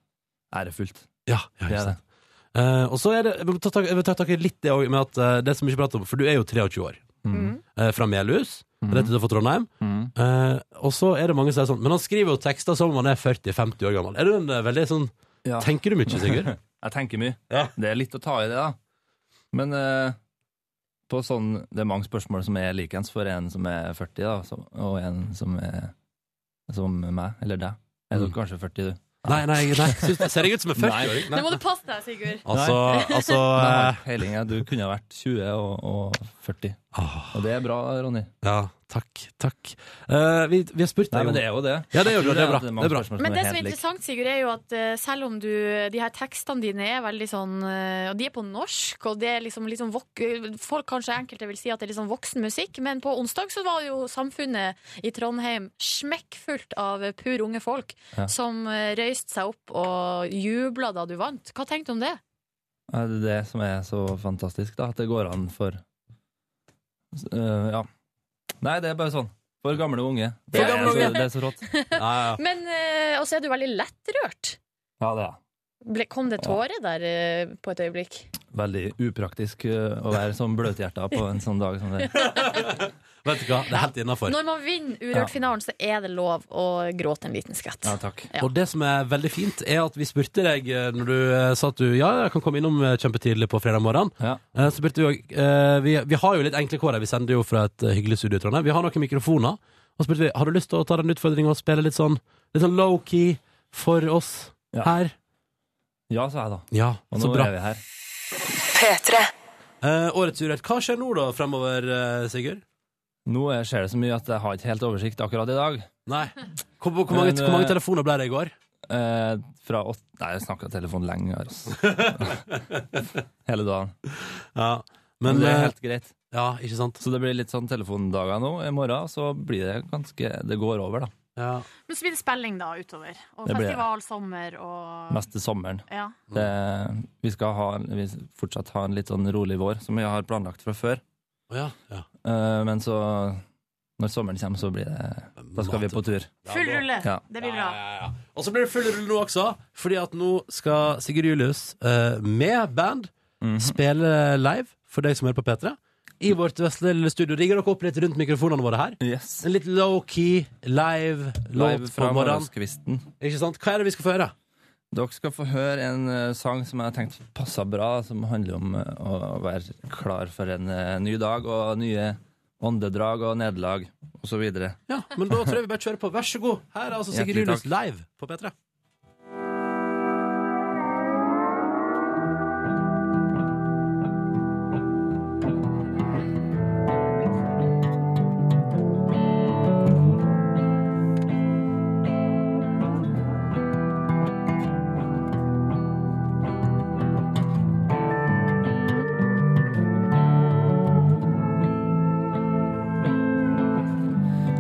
K: ærefullt.
E: Ja, ja
K: det
E: ikke
K: er det.
E: sant. Eh, og så er det, Jeg vil ta tak- jeg vil ta tak i litt det òg, med at eh, det som vi ikke prater om For du er jo 23 år.
K: Mhm.
E: Eh, fra Melhus,
K: Mm.
E: rett utenfor Trondheim. Eh, og så er det mange som er sånn Men han skriver jo tekster som om han er 40-50 år gammel. Er du en eh, veldig sånn Tenker du mye, Sigurd?
K: jeg tenker mye. Det er litt å ta i det, da. Men eh, på sånn, det er mange spørsmål som er likens for en som er 40, da, som, og en som er som meg, eller deg. Er du kanskje 40, du?
E: Nei, nei, nei. Syns- ser Mm. jeg ut som en 40-åring?
K: Nei.
F: Nå må du passe deg, Sigurd.
E: Altså-
K: Nei.
E: altså,
K: Nei,
E: eh,
K: Heilinga, du kunne ha vært 20 og, og 40. Og det er bra, Ronny.
E: ah, Ja, takk. Takk. Eh, vi, vi har spurt
K: Nei,
E: deg
K: men
E: om-
K: det er jo det.
E: Ja, det gjør du.
K: Jeg tror
E: Det er bra.
K: at
E: Det
K: mange
E: er bra.
K: spørsmål
F: Men det som er
K: helt lik.
F: interessant, Sigurd, er jo at eh, selv om du De her tekstene dine er veldig sånn eh, Og de er på norsk, og det er liksom, liksom vok Folk kanskje enkelte vil si at det er litt sånn voksen musikk, men på onsdag så var jo samfunnet i Trondheim smekkfullt av pur unge folk
K: Ja.
F: som eh, røyste seg opp og jubla da du vant. Hva tenkte du om det?
K: Ja, Eh, det er det som er så fantastisk, da. At det går an for S- øh, Ja. Nei, det er bare sånn. For gamle og unge. Det,
F: For gamle og
K: er,
F: unge.
K: så, det er så rått.
F: Men eh, Og så er du veldig lettrørt.
K: Ja, det er
F: Ble, kom det tårer der eh, på et øyeblikk?
K: veldig upraktisk øh, å være sånn bløthjerta på en sånn dag som det.
E: Vet du hva, det er helt innafor.
F: Når man vinner Urørt-finalen, så er det lov å gråte en liten skvett.
K: Ja, takk.
F: Ja.
E: Og det som er veldig fint, er at vi spurte deg eh, når du eh, sa at du ja, jeg kan komme innom eh, kjempetidlig på fredag morgen. Eh, Så spurte vi òg eh, vi, vi har jo litt enkle kår her, vi sender jo fra et eh, hyggelig studio i Trondheim. Vi har noen mikrofoner. Og så spurte vi har du lyst til å ta den utfordringa og spille litt sånn, litt sånn low-key for oss her.
K: Ja, sa jeg da.
E: Ja,
K: Og
E: så
K: nå
E: bra.
K: er vi her.
A: P3.
E: Eh, årets urett. Hva skjer nå da fremover, eh, Sigurd?
K: Nå eh, skjer det så mye at jeg har ikke helt oversikt akkurat i dag.
E: Nei. Hvor, hvor, mange, hvor mange telefoner ble det i går?
K: Eh, fra åtte Nei, jeg snakka telefon lenge, altså. Hele dagen.
E: Ja,
K: men,
E: men,
K: det er
E: eh,
K: helt greit.
E: Ja, ikke sant
K: Så det blir litt sånn telefondager nå. I morgen så blir det ganske Det går over, da.
F: Men så blir det spilling da utover. Og
K: Det blir det.
F: festivalsommer og
K: Mest til sommeren.
F: Ja.
K: Det, vi skal ha, vi fortsatt ha en litt sånn rolig vår, som vi har planlagt fra før.
E: Å ja, ja.
K: Eh, men så Når sommeren kommer, så blir det Da skal vi på tur.
F: Full rulle.
K: Ja.
F: Det blir bra.
E: Og så blir det full rulle nå også, fordi at nå skal Sigurd Julius eh, med band
K: Mhm.
E: spille live for deg som hører på P3. I vårt vesle lille studio. Rigger dere opp litt rundt mikrofonene våre her?
K: Yes.
E: En litt low-key, live låt
K: Live
E: på
K: fra
E: morgenen.
K: morgenskvisten.
E: Ikke sant? Hva er det vi skal få høre?
K: Dere skal få høre en eh, sang som jeg har tenkt passer bra, som handler om eh, å være klar for en eh, ny dag og nye åndedrag og nederlag osv.
E: Ja, men da tror jeg vi bare kjører på. Vær så god. Her er altså Sigurd
K: Hjertelig
E: Julius
K: takk.
E: live på P3.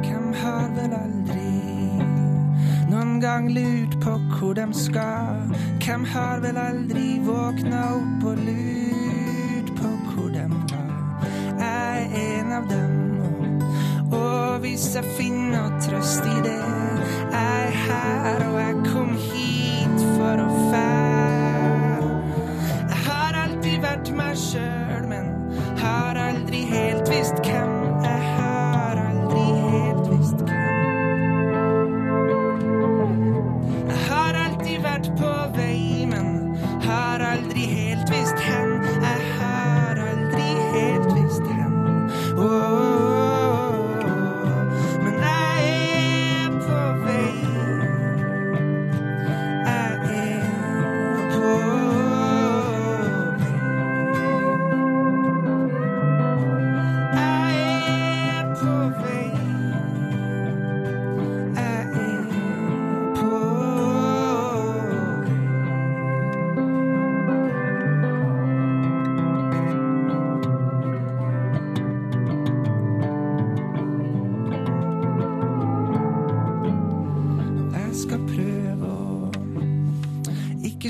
M: Hvem har vel aldri noen gang lurt på hvor de skal? Hvem har vel aldri våkna opp og lurt på hvor de var? Jeg er en av dem, og- og hvis jeg finner noe trøst i det Jeg er her, og jeg kom hit for å fære. Jeg har alltid vært meg sjøl, men har aldri helt visst hvem jeg har aldri helt visst hvem Jeg har alltid vært på vei, men har aldri helt visst hen Jeg har aldri helt visst hen Åh, åh, åh. Men jeg er på vei Jeg er ikke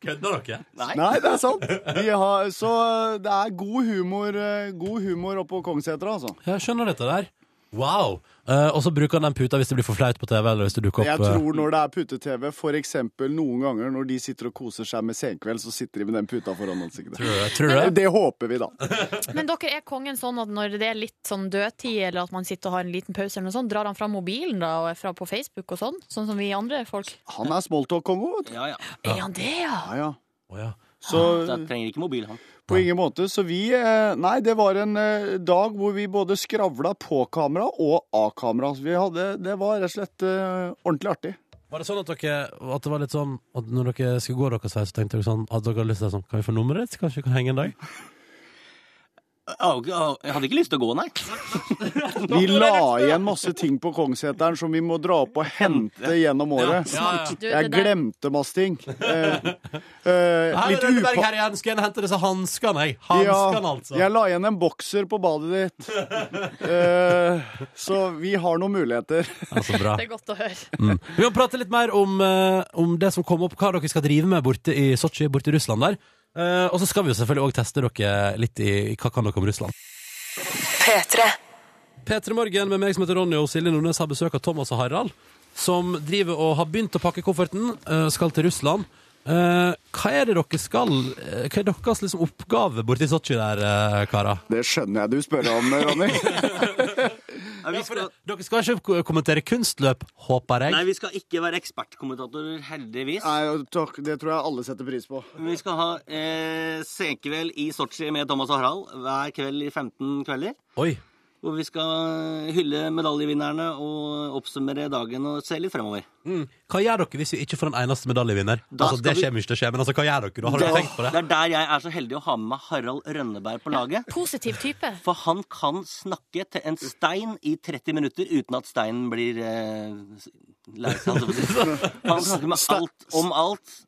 E: Kødder dere?
I: Nei, det er sant. De har, så det er god humor, eh, god humor oppå Kongsseter, altså.
E: Jeg skjønner dette der. Wow! Eh, og så bruker han den puta hvis det blir for flaut på TV, eller hvis det dukker
I: Jeg
E: opp eh,
I: tror når det er pute-TV, for eksempel noen ganger når de sitter og koser seg med Senkveld, så sitter de med den puta foran ansiktet.
E: eh, Tror du det? Tror du det?
I: Det håper vi, da.
F: Men dere er kongen sånn at når det er litt sånn dødtid, eller at man sitter og har en liten pause, eller noe sånt, drar han fram mobilen da, og er fra på Facebook og sånn? Sånn som vi andre folk?
I: Han er smalltalk-kongo, vet du.
N: Ja, ja.
F: Er han det, ja?
I: Ja, ja. Så
N: Så trenger ikke mobil, han.
I: på ingen måte. Så vi eh, Nei, det var en eh, dag hvor vi både skravla på kamera og av kamera. Så Vi hadde Det var rett og slett eh, ordentlig artig.
E: Var det sånn at dere At det var litt sånn at når dere skulle gå deres vei, så tenkte dere sånn at dere hadde lyst til å sånn Kan vi få nummeret ditt, så kanskje vi kan henge en dag?
N: Jeg har ikke- Jeg hadde ikke lyst til å gå, nei.
I: Vi la igjen masse ting på Kongsseteren som vi må dra opp og hente gjennom året.
E: Ja, ja, ja. Du, det
I: Jeg
E: der-
I: glemte masse ting. Eh,
E: Her er
I: eh, litt
E: Rønneberg
I: upa...
E: her igjen. Skal jeg hente disse hanskene, jeg.
I: Ja,
E: Hanskene, altså.
I: jeg la igjen en bokser på badet ditt. Eh, så vi har noen muligheter.
E: så bra.
F: Det er godt å høre.
E: Mm. Vi må prate litt mer om, eh, om det som kom opp, hva dere skal drive med borte i Sotsji, borte i Russland der. Eh, og så skal vi jo selvfølgelig òg teste dere litt i, i hva kan dere om Russland.
O: P3.
E: P3 Morgen med meg som heter Ronny og Silje Nordnes har besøk av Thomas og Harald, som driver og har begynt å pakke kofferten, eh, skal til Russland. Eh, hva er det dere skal eh, Hva er deres liksom, oppgave borte i Sotsji der, uh, karer?
I: Det skjønner jeg du spør om, Ronny.
E: Ja, for det- dere skal ikke ko- kommentere kunstløp, håper jeg?
N: Nei, vi skal ikke være ekspertkommentatorer, heldigvis.
I: Nei, takk, Det tror jeg alle setter pris på.
N: Vi skal ha eh, senkveld i Sotsji med Thomas og Harald hver kveld i 15 kvelder.
E: Oi.
N: Hvor vi skal hylle medaljevinnerne og oppsummere dagen og se litt fremover.
E: Mm. Hva gjør dere hvis vi ikke får en eneste medaljevinner?
N: Da
E: Altså,
N: skal
E: det
N: vi-
E: kommer ikke til å skje, men altså, hva gjør dere? Da har
N: Da-
E: dere tenkt på det?
N: Det er der jeg er så heldig å ha med meg Harald Rønneberg på laget.
F: Positiv type.
N: For han kan snakke til en stein i 30 minutter uten at steinen blir eh, s- lei seg. holdt jeg på å si. sånn. Han snakker med alt om alt.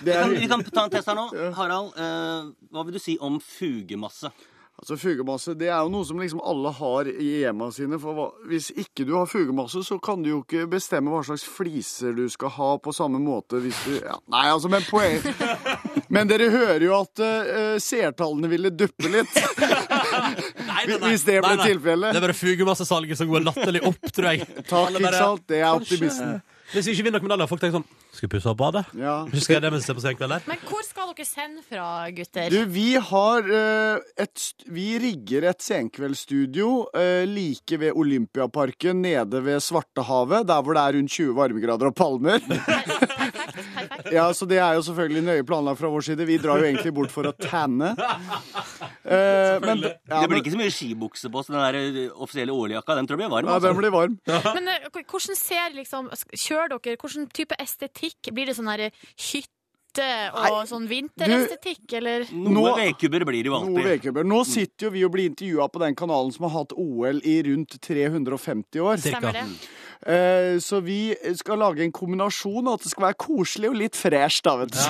N: Vi
I: Det er-
N: kan, vi kan ta en test her nå. Harald, eh, hva vil du si om fugemasse?
I: Altså Fugemasse det er jo noe som liksom alle har i hjemmene sine. for hva, Hvis ikke du har fugemasse, så kan du jo ikke bestemme hva slags fliser du skal ha på samme måte hvis du ja, Nei, altså, men poeng Men dere hører jo at eh, seertallene ville duppe litt. Hvis det ble tilfellet.
E: Det er bare fugemassesalget som går latterlig opp, tror jeg. Alle
I: ikke sant? Det er optimisten.
E: Hvis vi ikke vinner noen medaljer, folk tenker sånn Skal vi pusse opp badet?
I: Ja.
E: Skal jeg det mens vi ser på Senkveld der?
F: Men hvor skal dere sende fra, gutter?
I: Du, vi har eh, et st- Vi rigger et senkveldsstudio eh, like ved Olympiaparken nede ved Svartehavet, der hvor det er rundt 20 varmegrader og palmer. Ja, så det er jo selvfølgelig nøye planlagt fra vår side. Vi drar jo egentlig bort for å tanne. Eh, men
N: det blir ikke så mye skibukse på, så den der eh, offisielle OL-jakka, den tror jeg blir varm. altså.
I: Ja, den blir varm.
F: Men eh, hvordan ser liksom Kjører dere? Hvordan type estetikk? Blir det sånn her hytte og sånn vinterestetikk, eller?
N: Noe vedkubber blir det jo
I: Noe
N: alltid.
I: vedkubber. Nå sitter jo vi og blir intervjua på den kanalen som har hatt OL i rundt 350 år.
F: Stemmer det.
I: Eh, Så vi skal lage en kombinasjon av at det skal være koselig og litt fresh, da, vet du.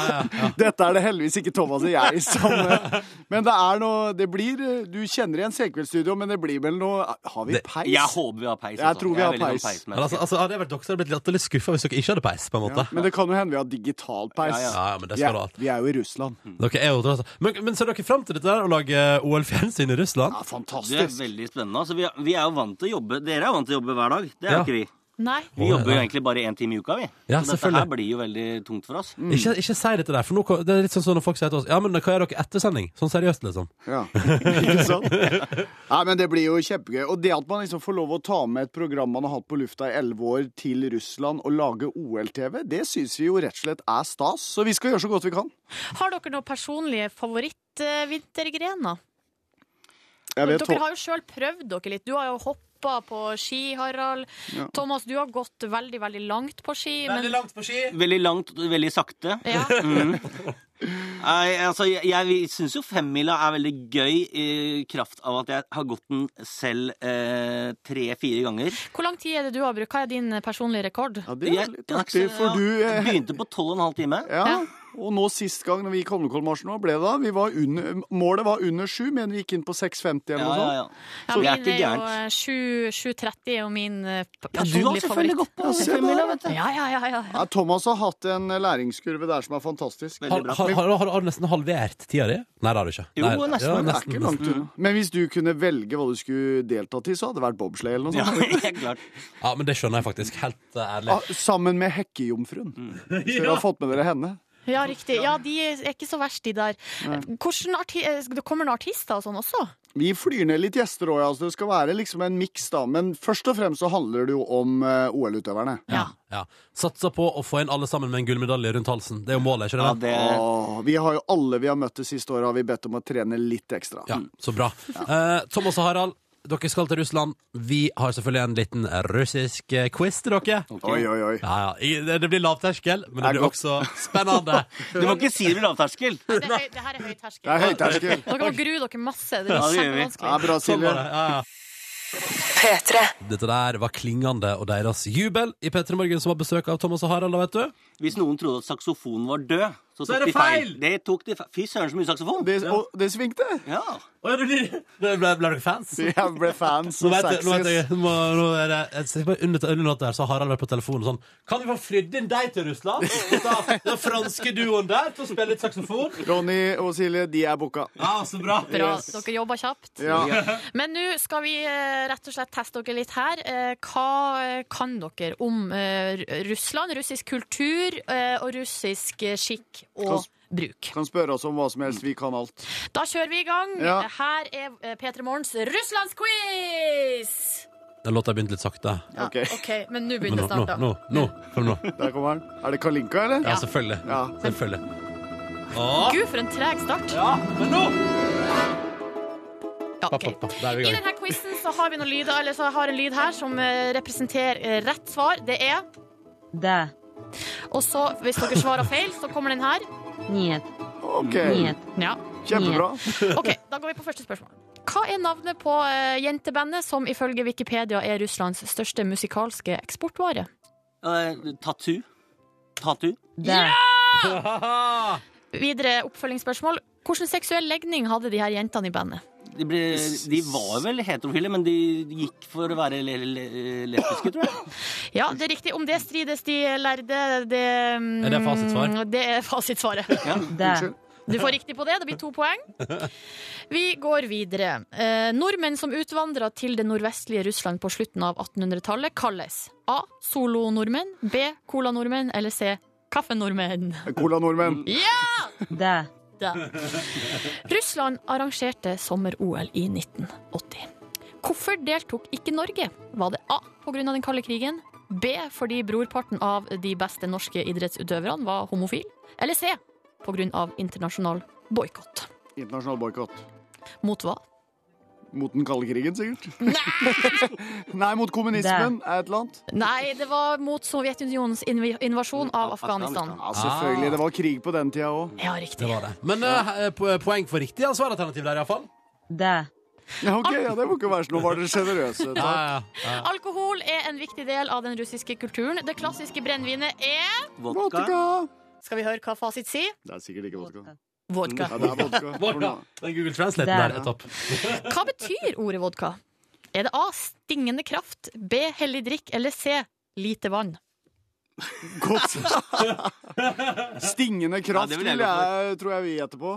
I: Dette er det heldigvis ikke Thomas og Altså, jeg som eh, Men det er noe Det blir eh, Du kjenner igjen Senkveldsstudio, men det blir vel noe Har vi peis?
N: Jeg håper vi har peis.
I: Jeg tror vi har peis.
N: sånn
E: Men altså, altså, hadde jeg vært dere, så hadde jeg blitt latterlig skuffa hvis dere ikke hadde peis. på en måte
I: Men det kan jo hende vi har digital peis.
E: Ja, Mm. ja. Ja, ja, men det
I: Vi
E: skal
I: er-
E: du ha.
I: Vi er jo i Russland.
E: Dere er jo tross alt- men, men ser dere fram til dette der, å lage eh, OL-fjernsyn i Russland?
I: Ja,
N: Det er veldig spennende. Altså, vi, er, vi er jo vant til å jobbe Dere er jo vant til å jobbe hver dag. Det er jo
E: Ja.
N: ikke vi.
F: Nei.
N: Vi jobber jo egentlig bare én time i uka, vi.
E: Ja,
N: så dette
E: selvfølgelig.
N: her blir jo veldig tungt for oss.
I: Mm.
E: Ikke, ikke si dette der, for nå, ko- det er litt sånn som når folk sier til oss Ja, men hva gjør dere etter sending? Sånn seriøst, liksom.
I: Ja. Ikke sant? Nei, men det blir jo kjempegøy. Og det at man liksom får lov å ta med et program man har hatt på lufta i elleve år, til Russland og lage OL-TV, det syns vi jo rett og slett er stas. Så vi skal gjøre så godt vi kan.
F: Har dere noen personlige favorittvintergrener?
I: Jeg vet
F: Dere har jo sjøl prøvd dere litt. Du har jo hoppa på ski, Harald.
I: Ja.
F: Thomas, du har gått veldig, veldig langt på ski.
E: Veldig langt på ski.
N: Veldig langt, veldig sakte.
F: Ja.
N: Mhm. Nei, altså, jeg, jeg syns jo femmila er veldig gøy i kraft av at jeg har gått den selv eh, tre-fire ganger.
F: Hvor lang tid er det du har brukt? Hva er din personlige rekord?
N: Jeg- jeg- jeg Begynte på tolv og en halv time.
I: eh, Ja. Og nå sist gang når vi gikk Holmenkollmarsjen, hva ble det da? Vi var under, målet var under sju, men vi gikk inn på 6,50 eller
N: Ja,
I: noe
N: ja,
I: sånt.
N: ja.
F: Ja,
I: Så
F: min
I: det
F: er,
I: er ikke
F: jo
I: gærent.
F: eh, sju- 7.30 er jo min eh, p-
I: Ja, du har
F: personlige
I: selvfølgelig
F: favoritt.
I: gått på Ja, se der, femmila, vet du.
F: Ja, ja, ja, ja.
I: Ja, Thomas har hatt en læringskurve der som er fantastisk.
E: Har, har, har, har, du nesten halvert tida di? Nei, det har du ikke.
I: Jo,
E: Nei,
I: nesten.
E: ja,
I: det er ikke langt
N: Mm.
I: unna. Men hvis du kunne velge hva du skulle delta til, så hadde det vært bobsleigh eller noe sånt.
E: Ja, men det skjønner jeg faktisk. Helt eh, ærlig.
I: Ah, sammen med hekkejomfruen.
N: Mm.
I: Hvis dere har fått med dere henne.
F: Ja, riktig. Ja, de er ikke så verst, de der. Hvordan arti eh, det kommer noen artister og sånn også?
I: Vi flyr ned litt gjester òg, altså. Det skal være liksom en miks, da. Men først og fremst så handler det jo om eh, OL-utøverne.
E: Ja. Satser på å få inn alle sammen med en gullmedalje rundt halsen. Det er jo målet, ikke det?
I: Åh, vi har jo alle vi har møtt det siste året, har vi bedt om å trene litt ekstra.
E: Ja, så bra. Eh, Thomas og Harald, dere skal til Russland. Vi har selvfølgelig en liten russisk eh, quiz til dere.
I: Oi, oi, oi.
E: Ja, ja. I- Det, det blir lavterskel, men det
I: Jeg
E: blir
I: går-
E: også spennende.
N: Du må ikke si det blir lavterskel.
F: Det er, høy, det her er høy terskel.
I: Det er høy terskel.
F: Dere må grue dere masse. Det
E: Ja,
F: er
E: det gjør vi.
F: kjempevanskelig.
E: Ja, bra, Silje. Sånn var det, ja, ja.
P: P3.
E: Dette der var klingende og deres jubel i P3 Morgen, som har besøk av Thomas og Harald. da, vet du.
N: Hvis noen trodde at saksofonen var død, så tok
E: Så er det
N: de feil. Det tok de feil. Fy søren, så mye saksofon.
I: Det, og det svingte.
N: Ja.
E: Ble, ble, ble dere fans?
I: Jeg ble fans
E: Nå
I: og
E: vet jeg, nå vet jeg,
I: sexist.
E: nå, nå er det, jeg ser bare under, under natt der, så har Harald vært på telefonen sånn Kan vi få flydd inn deg til Russland? Da, den franske duoen der til å spille litt saksofon?
I: Ronny og Silje, de er booka.
E: Ja, så bra.
F: Bra.
I: Yes.
F: Dere jobber kjapt.
I: Ja.
F: Men nå skal vi eh, rett og slett teste dere litt her. Eh, Hva eh, kan dere om eh, Russland, russisk kultur eh, og russisk eh, skikk og bruk.
I: Kan spørre oss om hva som helst. Vi kan alt.
F: Da kjører vi i gang. Eh,
I: Ja.
F: Her er P3 Morgens Russlandsquiz!
E: Den låta begynte litt sakte.
F: Ja,
I: Ok.
F: OK, men nå
E: Men
F: begynner det
E: Nå, nå,
F: snart, da.
E: nå, nå, følg nå.
I: Der kommer den. Er det Kalinka, eller?
E: Ja, selvfølgelig. selvfølgelig. Å,
F: Gud, for en treg start.
E: men nå!
F: Ja,
E: Papp, papp, papp. Da er
F: I
E: vi i gang.
F: denne quizen så har vi noen lyder, eller så har jeg en lyd her som eh, representerer eh, rett svar. Det er
H: Да.
F: Og så, hvis dere svarer feil, så kommer den her.
H: Нет.
I: Ok.
H: Нет.
F: Ja.
I: Kjempebra.
F: OK, da går vi på første spørsmål. Hva er navnet på eh, jentebandet som ifølge Wikipedia er Russlands største musikalske eksportvare?
N: Eh, Tattoo. Tattoo.
F: Ja! Videre oppfølgingsspørsmål. Hvilken seksuell legning hadde de her jentene i bandet?
N: De, ble, de var vel heterofile, men de gikk for å være le, le, lesbiske, tror jeg.
F: Ja, det er riktig. Om det strides de lærde, det mm,
N: Er det fasitsvar?
F: Det er fasitsvaret.
N: Det.
F: Du får riktig på det. Det blir to poeng. Vi går videre. Eh, nordmenn som utvandra til det nordvestlige Russland på slutten av 1800-tallet, kalles A. Solo-nordmenn. B. Cola-nordmenn. Eller C. Kaffenordmenn.
I: Cola-nordmenn.
F: Ja!
H: Да.
F: Da. Russland arrangerte sommer-OL i 1980. Hvorfor deltok ikke Norge? Var det A pga. den kalde krigen? B fordi brorparten av de beste norske idrettsutøverne var homofil? Eller C pga. internasjonal boikott?
I: Internasjonal boikott.
F: Mot hva?
I: Mot den kalde krigen, sikkert? Nei, mot kommunismen. er Et eller annet.
F: Nei, det var mot Sovjetunionens inv invasjon av Afghanistan.
I: Ja, selvfølgelig. Det var krig på den tida òg.
F: Ja, riktig.
E: Det var det. Men eh, po- poeng for riktig svaralternativ der, iallfall.
H: Да.
I: Ja, ok, ja, det må ikke være sånn. Nå var dere sjenerøse.
E: Ja,
I: takk.
E: ja, ja.
F: Alkohol er en viktig del av den russiske kulturen. Det klassiske brennevinet er Skal vi høre hva fasit sier?
I: Det er sikkert ikke vodka.
F: Vodka.
I: Ja, det er vodka.
E: Vodka. Den Google Translate der er topp.
F: Hva betyr ordet vodka? Er det A. Stingende kraft, B. Hellig drikk eller C. Lite vann?
I: Godt. Stingende kraft
N: Ja, det vil jeg
I: vil
N: gå for.
I: jeg, tror jeg vi gjetter på.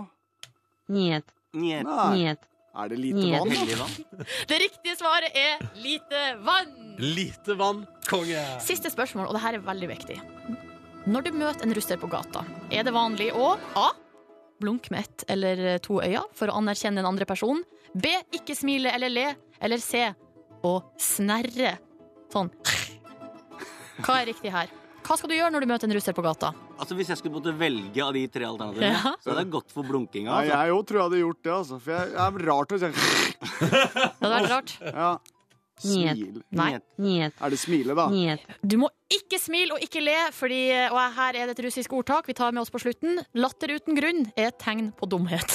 H: Нет.
N: Нет.
I: Nei.
H: Нет.
I: Er det lite
F: Ja.
I: vann?
F: Heldig Det riktige svaret er lite vann.
E: Lite vann, konge.
F: Siste spørsmål, og det her er veldig viktig. Når du møter en russer på gata, er det vanlig å A. Blunk med ett eller to øyne for å anerkjenne den andre personen. B. Ikke smile eller le. Eller C. Å snerre. Sånn. Hva er riktig her? Hva skal du gjøre når du møter en russer på gata?
N: Altså Hvis jeg skulle måtte velge av de tre alternativene,
F: Ja.
N: så hadde jeg gått for blunkinga. Altså.
I: Nei, jeg jo tror jeg hadde gjort det, altså. For jeg, jeg er rart å si
F: Det hadde vært rart.
I: Ja. Smil.
F: Nei.
I: Er det smile, da?
F: Du må ikke smile og ikke le, fordi, og her er det et russisk ordtak vi tar med oss på slutten. Latter uten grunn er et tegn på dumhet.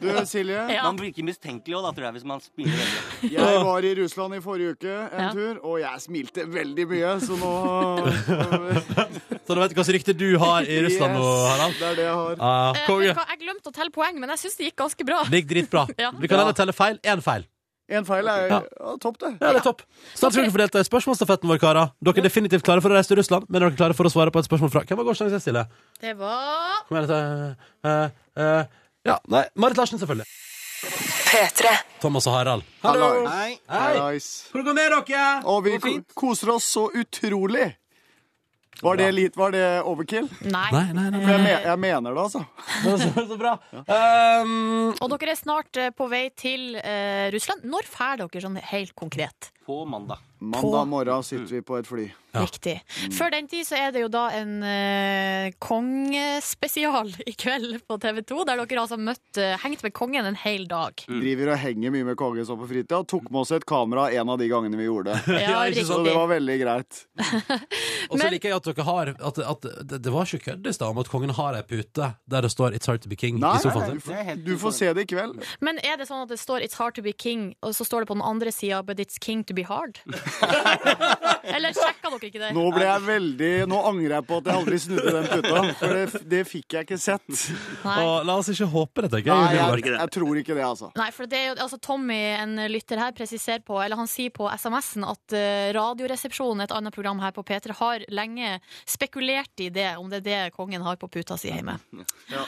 I: Du, Silje?
F: Ja.
N: Man blir ikke mistenkelig også, da, tror jeg, hvis man spiller veldig.
I: Jeg var i Russland i forrige uke en
N: Ja.
I: tur, og jeg smilte veldig mye, så nå
E: Så du vet hvilket rykte du har i Russland nå,
I: Yes,
E: Harald?
I: Det er det jeg har.
E: Ah,
F: Eh, vet
E: konge.
F: du hva, jeg glemte å telle poeng, men jeg syns det gikk ganske bra.
E: Det gikk dritbra.
F: Ja.
E: Vi kan heller telle feil. Én feil.
I: En feil er
E: Ja.
I: ja. topp, det.
E: Ja, det er topp. Snart skal dere få delta i spørsmålsstafetten vår, karer. Dere er definitivt klare for å reise til Russland, men er dere klare for å svare på et spørsmål fra Hvem var gårsdagens jeg stiller?
F: Det var
E: Kom igjen, dette eh, eh, Ja, nei, Marit Larsen, selvfølgelig.
A: P3.
E: Thomas og Harald.
I: Hallo.
N: Hei.
E: Hvordan går det med dere?
I: Og vi ko koser oss så utrolig. Var det, litt, var det overkill?
F: Nei.
E: Nei, nei,
I: For jeg, me jeg mener det, altså.
E: så bra. Ehm,
F: Og dere er snart eh, på vei til eh, Russland. Når drar dere sånn helt konkret?
N: På mandag.
I: Mandag morgen sitter vi på et fly.
F: Riktig. Før den tid så er det jo da en eh, kongespesial i kveld på TV 2, der dere altså møtt, eh, hengt med kongen en hel dag.
N: Mm.
I: Driver og henger mye med kongen så på fritida. Tok med oss et kamera en av de gangene vi gjorde det.
F: Ja, riktig.
I: så det var veldig greit.
E: Og så liker jeg at dere har at, at det, det var ikke kødd i stad om at kongen har ei pute der det står 'It's hard to be king'
I: Nei,
E: i sofaen
I: nei,
E: sin.
I: du får- du får se det i kveld.
F: Men er det sånn at det står 'It's hard to be king', og så står det på den andre sida 'But it's king to be hard'? Eller sjekka dere ikke det?
I: Nå ble jeg veldig Nå angrer jeg på at jeg aldri snudde den puta, for det, det fikk jeg ikke sett.
E: Og la oss ikke håpe det, tenker
I: Nei,
E: jeg.
I: jeg, jeg tror ikke det, altså.
F: Nei, for det er jo, altså Tommy, en lytter her, presiserer på, eller han sier på SMS-en at eh, Radioresepsjonen, et annet program her på P3, har lenge spekulert i det, om det er det kongen har på puta si hjemme.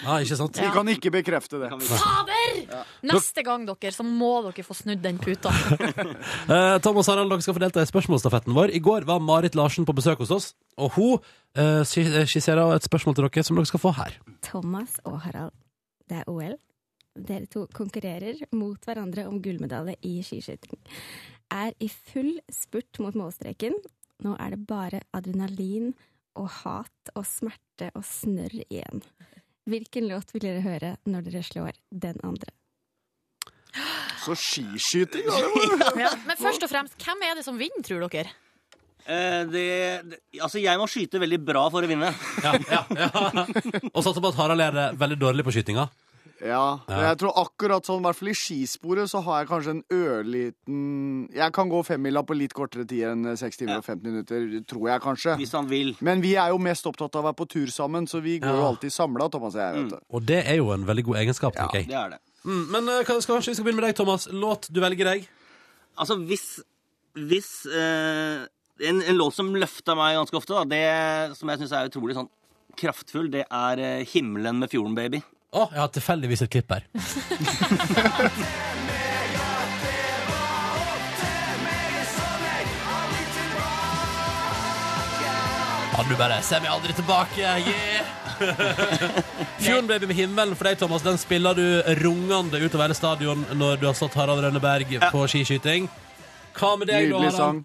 E: Ah, ikke sant?
I: Vi kan ikke bekrefte det.
F: Fader! Neste gang, dere, så må dere få snudd den puta.
E: Eh, Tom og Harald, dere skal få delta i spørsmålsstafetten vår. I går var Marit Larsen på besøk hos oss, og hun eh, skis- eh, skisserer et spørsmål til dere som dere skal få her.
Q: Thomas og Harald, det er OL. Dere to konkurrerer mot hverandre om gullmedalje i skiskyting. Er i full spurt mot målstreken. Nå er det bare adrenalin og hat og smerte og snørr igjen. Hvilken låt vil dere høre når dere slår den andre?
I: Så skiskyting, da!
F: ja, men først og fremst, hvem er det som vinner, tror dere?
N: Eh, det, det, altså, jeg må skyte veldig bra for å vinne.
E: Og satser på at Harald er eh, veldig dårlig på skytinga.
I: Ja, men jeg tror akkurat sånn, i hvert fall i skisporet, så har jeg kanskje en ørliten Jeg kan gå femmila på litt kortere tid enn seks timer og 15 minutter, tror jeg kanskje.
N: Hvis han vil.
I: Men vi er jo mest opptatt av å være på tur sammen, så vi går jo
E: Ja.
I: alltid samla, Thomas og jeg. vet du.
E: Og det er jo en veldig god egenskap, tenker jeg.
N: Det er det.
E: Mm, men eh, hva- skal, kanskje vi skal begynne med deg, Thomas. Låt du velger deg.
N: Altså, hvis, hvis eh, en, en låt som løfta meg ganske ofte, da, det som jeg syns er utrolig sånn kraftfull, det er eh, 'Himmelen med fjorden, baby'.
E: Å, jeg har tilfeldigvis et klipp her. Han du bare ser meg aldri tilbake, yeah! Fjorden Baby med himmelen for deg, Thomas, den spiller du rungende utover hele stadion når du har slått Harald Rønneberg på skiskyting. Hva med deg, da,
I: Nydelig
E: Harald?
I: sang.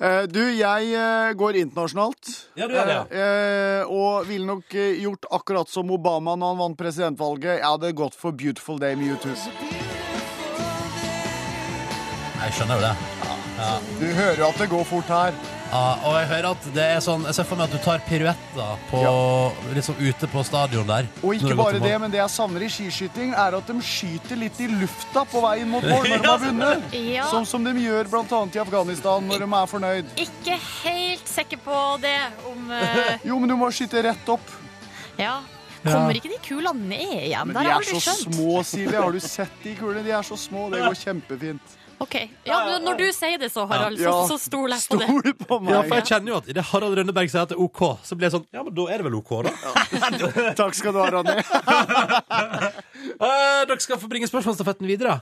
I: Eh, Du, jeg eh, går internasjonalt.
E: Ja, du gjør det,
I: Eh, eh, Og ville nok eh, gjort akkurat som Obama når han vant presidentvalget. Jeg hadde gått for 'Beautiful Day' med U2.
E: Jeg skjønner jo det. Ja.
I: Du hører jo at det går fort her.
E: Ja, og jeg hører at det er sånn Jeg ser for meg at du tar piruetter på, liksom ute på stadion der.
I: Og ikke bare det, men det jeg savner i skiskyting, er at de skyter litt i lufta på veien mot mål når de har vunnet.
F: Ja.
I: Sånn som de gjør bl.a. i Afghanistan når de er fornøyd.
F: Ikke helt sikker på det om eh,
I: Jo, men du må skyte rett opp.
F: Ja.
I: Ja.
F: Kommer ikke de kulene ned igjen?
I: Men
F: Der har
I: de er
F: jeg aldri
I: så
F: skjønt.
I: små, Silje. Har du sett de kulene? De er så små. Det går kjempefint.
F: OK. Ja, men når du sier det så, Harald, så,
C: Ja.
F: så stoler jeg på det.
C: Stol
I: på
C: Ja, for jeg kjenner jo at idet Harald Rønneberg sier at det er OK, så blir jeg sånn Ja, men da er det vel OK, da.
I: Takk skal du ha, Ronny.
C: Eh, dere skal få bringe spørsmålsstafetten videre.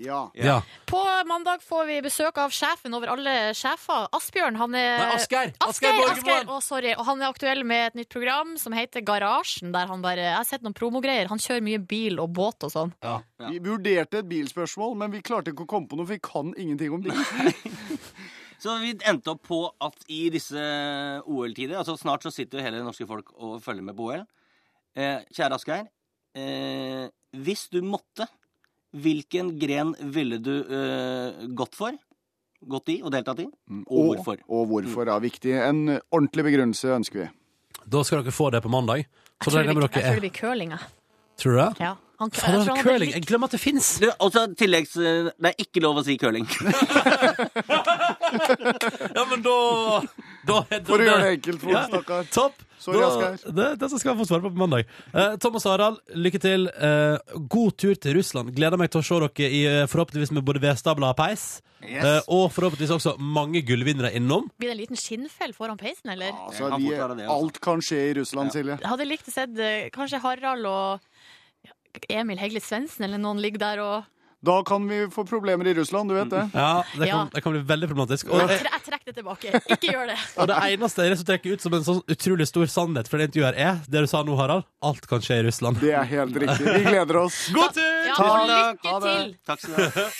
I: Ja.
C: ja.
F: På mandag får vi besøk av sjefen over alle sjefer. Asbjørn, han er
C: Nei, Asgeir. Asgeir
F: Eh, Asgeir,
C: Borgermoen.
F: Asgeir. Å, sorry. Og han er aktuell med et nytt program som heter Garasjen, der han bare Jeg har sett noen promogreier. Han kjører mye bil og båt og sånn.
I: Vi vurderte et bilspørsmål, men vi klarte ikke å komme på noe, for vi kan ingenting om bil.
N: Så vi endte opp på at i disse OL-tider altså Snart så sitter jo hele det norske folk og følger med på OL. Eh, kjære Asgeir, eh, hvis du måtte, hvilken gren ville du eh, gått for? Gått i og deltatt i? Og hvorfor?
I: Og hvorfor er viktig. En ordentlig begrunnelse ønsker vi.
C: Da skal dere få det på mandag.
F: Jeg
E: Altså,
F: tror det blir- jeg tror det blir curling, jeg.
C: Tror du det?
F: Ja. Han, jeg
C: Fader,
F: tror han hadde
C: curling. Jeg glemmer at det fins.
N: Og så tilleggs eh, Det er ikke lov å si curling.
C: ja, men da,
I: For å gjøre det enkelt for
C: Ja,
I: oss, stakkar.
C: Topp.
I: Sorry,
C: Da-
I: Asgeir.
C: Det, det skal jeg få svare på på mandag. Eh, Thomas og Harald, lykke til. Eh, god tur til Russland. Gleder meg til å se dere i, eh, forhåpentligvis med både vedstabler og peis.
F: Yes.
C: Eh, og forhåpentligvis også mange gullvinnere innom.
F: Blir det en liten skinnfell foran peisen, eller?
I: Så Altså, vi,
E: altså.
I: alt kan skje i Russland, Silje.
F: Jeg hadde likt å se kanskje Harald og Emil Hegle Svendsen eller noen ligger der og
I: Da kan vi få problemer i Russland, du vet det.
C: Ja, det
F: Ja.
C: kan, det kan bli veldig problematisk. Og, eh,
F: Jeg, tre, jeg trekker det tilbake. Ikke gjør det.
C: og det eneste jeg trekker ut som en sånn utrolig stor sannhet fra det intervjuet, her er det du sa nå, Harald. Alt kan skje i Russland.
I: Det er helt riktig. Vi gleder oss.
C: God tur!
F: Ja,
I: Takk.
F: lykke
I: Ha det.
F: til!
N: Takk skal du ha.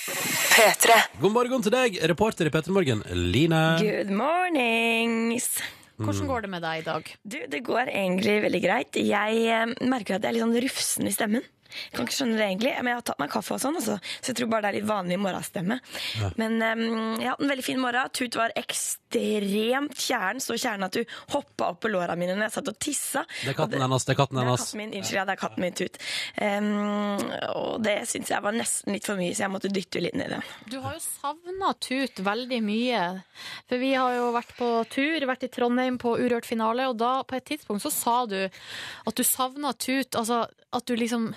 C: P3. God morgen til deg, reporter i P3 Morgen, Line.
R: Good mornings!
F: Hvordan går det med deg i dag?
R: Du, det går egentlig veldig greit. Jeg eh, merker at jeg er litt sånn rufsen i stemmen. Jeg kan ikke skjønne det egentlig, men jeg har tatt meg kaffe og sånn, altså. så jeg tror bare det er litt vanlig morgenstemme.
S: Ja.
R: Men eh, jeg har hatt en veldig fin morgen. Tut var ekstremt kjæren, så kjæren at du hoppa opp på låra mine når jeg satt og tissa.
C: Det er katten hennes. Det er katten
R: Det er
C: hennes.
R: katten min, Unnskyld, ja, det er katten min, Tut. Eh, og det syns jeg var nesten litt for mye, så jeg måtte dytte litt ned i den.
F: Du har jo savna Tut veldig mye. For vi har jo vært på tur, vært i Trondheim på Urørt finale, og da på et tidspunkt så sa du at du savna Tut. Altså at du liksom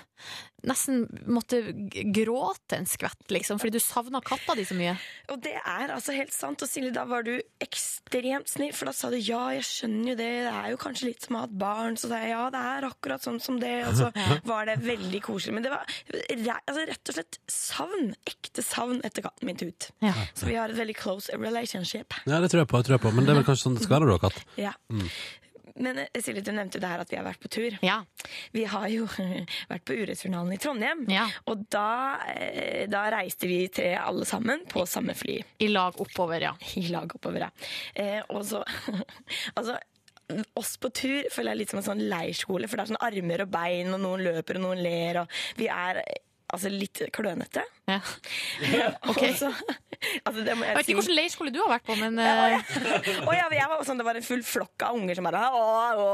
F: nesten måtte g- gråte en skvett, liksom, fordi du savna katta di så mye.
R: Og det er altså helt sant. Og Silje, da var du ekstremt snill, for da sa du ja, jeg skjønner jo det, det er jo kanskje litt som å ha et barn. Så sa jeg ja, det er akkurat sånn som det, og så var det veldig koselig. Men det var re- altså, rett og slett savn. Ekte savn etter katten min Tut. Så vi har et veldig close relationship.
C: Ja, det tror jeg på. Jeg tror jeg på. Men det er vel kanskje sånn det skal være, da, katt.
R: Ja.
C: Mm.
R: Men eh, Silje, du nevnte jo det her at vi har vært på tur. Vi har jo vært på Urørsfinalen i Trondheim. Og da, eh, da reiste vi tre alle sammen på samme fly.
F: I lag oppover, ja.
R: I lag oppover, ja. Eh, og så Altså oss på tur føler jeg litt som en sånn leirskole, for det er sånn armer og bein, og noen løper, og noen ler, og vi er eh, altså litt klønete.
F: Ja.
R: Ok. så, altså, det må
F: Jeg
R: jeg
F: vet ikke hvilken leirskole du har vært på, men
R: ja,
F: eh,
R: og ja, jeg var sånn, Det var en full flokk av unger som bare å, å,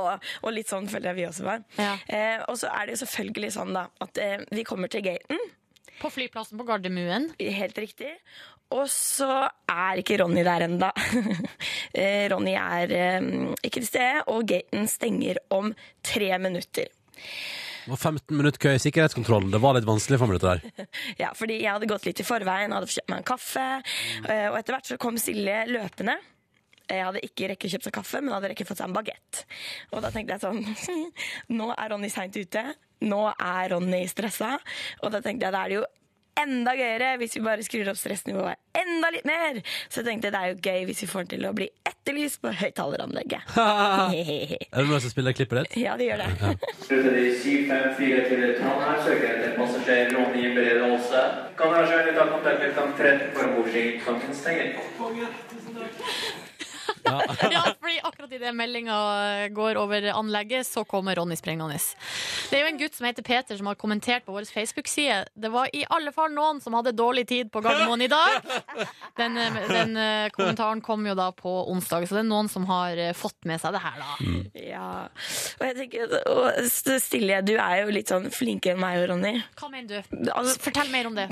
R: Og litt sånn føler jeg vi også var. Eh, og så er det jo selvfølgelig sånn da at eh, vi kommer til gaten.
F: På flyplassen på Gardermuen.
R: Helt riktig. Og så er ikke Ronny der ennå. Eh, Ronny er eh, ikke til stede, og gaten stenger om tre minutter.
C: Det var 15 minutter kø i sikkerhetskontrollen. Det var litt vanskelig for meg, dette der.
R: Ja, fordi jeg hadde gått litt i forveien, hadde kjøpt meg en kaffe, eh, og etter hvert så kom Silje løpende. Jeg hadde ikke rekke kjøpt seg kaffe, men hadde rekke fått seg en bagett. Og da tenkte jeg sånn, nå er Ronny sent ute, nå er Ronny stressa, og da tenkte jeg, da er det jo enda gøyere hvis vi bare skrur opp stressnivået enda litt mer. Så jeg tenkte, det er jo gøy hvis vi får til å bli etterlyst på høyttaleranlegget.
C: Er det noen som spiller klippet ditt?
R: ja, det gjør det.
T: 7544 Trondheim søker etter passasjer Ronny Brede Aase. Kan dere kjøre litt av kontakt med klang 13 for ombordstigning klokken stenger?
F: ja, fordi akkurat idet meldinga går over anlegget, så kommer Ronny sprengende. Det er jo en gutt som heter Peter, som har kommentert på vår Facebook-side. Det var i alle fall noen som hadde dårlig tid på Gardermoen i dag. Den, eh, den eh, kommentaren kom jo da på onsdag, så det er noen som har eh, fått med seg det her, da.
R: Ja. Og jeg tenker, og S- Silje, du er jo litt sånn flinkere enn meg og Ronny.
F: Hva mener du? Altså, fortell mer om det.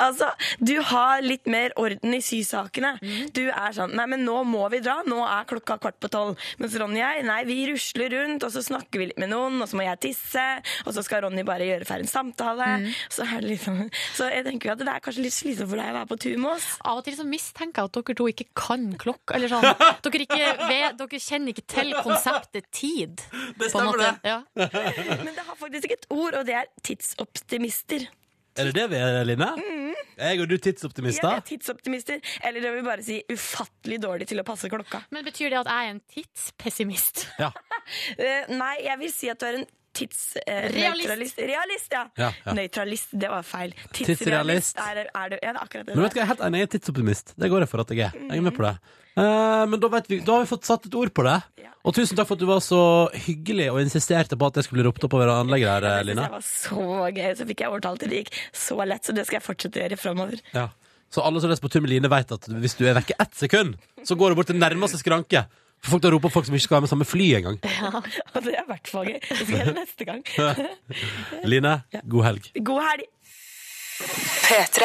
R: Altså, du har litt mer orden i sysakene. Du er sånn Nei, men nå må vi dra fra. Nå er klokka kvart på tolv. Mens Ronny og jeg, nei, vi rusler rundt, og så snakker vi litt med noen, og så må jeg tisse, og så skal Ronny bare gjøre ferdig en samtale. Så, er det liksom, så jeg tenker jo at det er kanskje litt slitsomt for deg å være på tur med oss.
F: Av og til så mistenker jeg at dere to ikke kan klokka. Eller sånn. dere, ikke vet, dere kjenner ikke til konseptet tid.
R: Det
F: på en
R: stemmer
F: måte.
R: det.
F: Ja.
R: Men det har faktisk ikke et ord, og det er tidsoptimister.
E: Er det det vi er, Line? Jeg og du
R: Mm. Ja,
E: tidsoptimister?
R: det er tidsoptimister. Eller det vil bare si ufattelig dårlig til å passe klokka.
F: Men betyr det at jeg er en tidspessimist?
E: Ja.
R: nei, jeg vil si at du er en
F: Realist.
R: tidsrealist. Realist, ja.
E: Ja, ja.
R: Nøytralist, det var feil.
E: Tidsrealist.
R: Er, er du, ja, det er akkurat det.
E: Men vet du hva, jeg er helt enig, jeg er tidsoptimist. Det går jeg for at jeg er. Jeg er med på det. Eh, men da, vet vi, da har vi fått satt et ord på det. Og tusen takk for at du var så hyggelig og insisterte på at jeg skulle bli ropt opp over anlegget her, eh,
R: Det synes
E: Line.
R: jeg var så gøy, så fikk jeg overtalt det. Det gikk så lett, så det skal jeg fortsette å gjøre framover.
E: Ja. Så alle som leser på tur med Line, vet at hvis du er vekke ett sekund, så går du bort til nærmeste skranke. For folk da roper folk som ikke skal være med samme fly engang.
R: Og det er i hvert fall gøy. Det skal jeg gjøre neste gang.
E: Line, god helg.
R: God helg.
U: P3.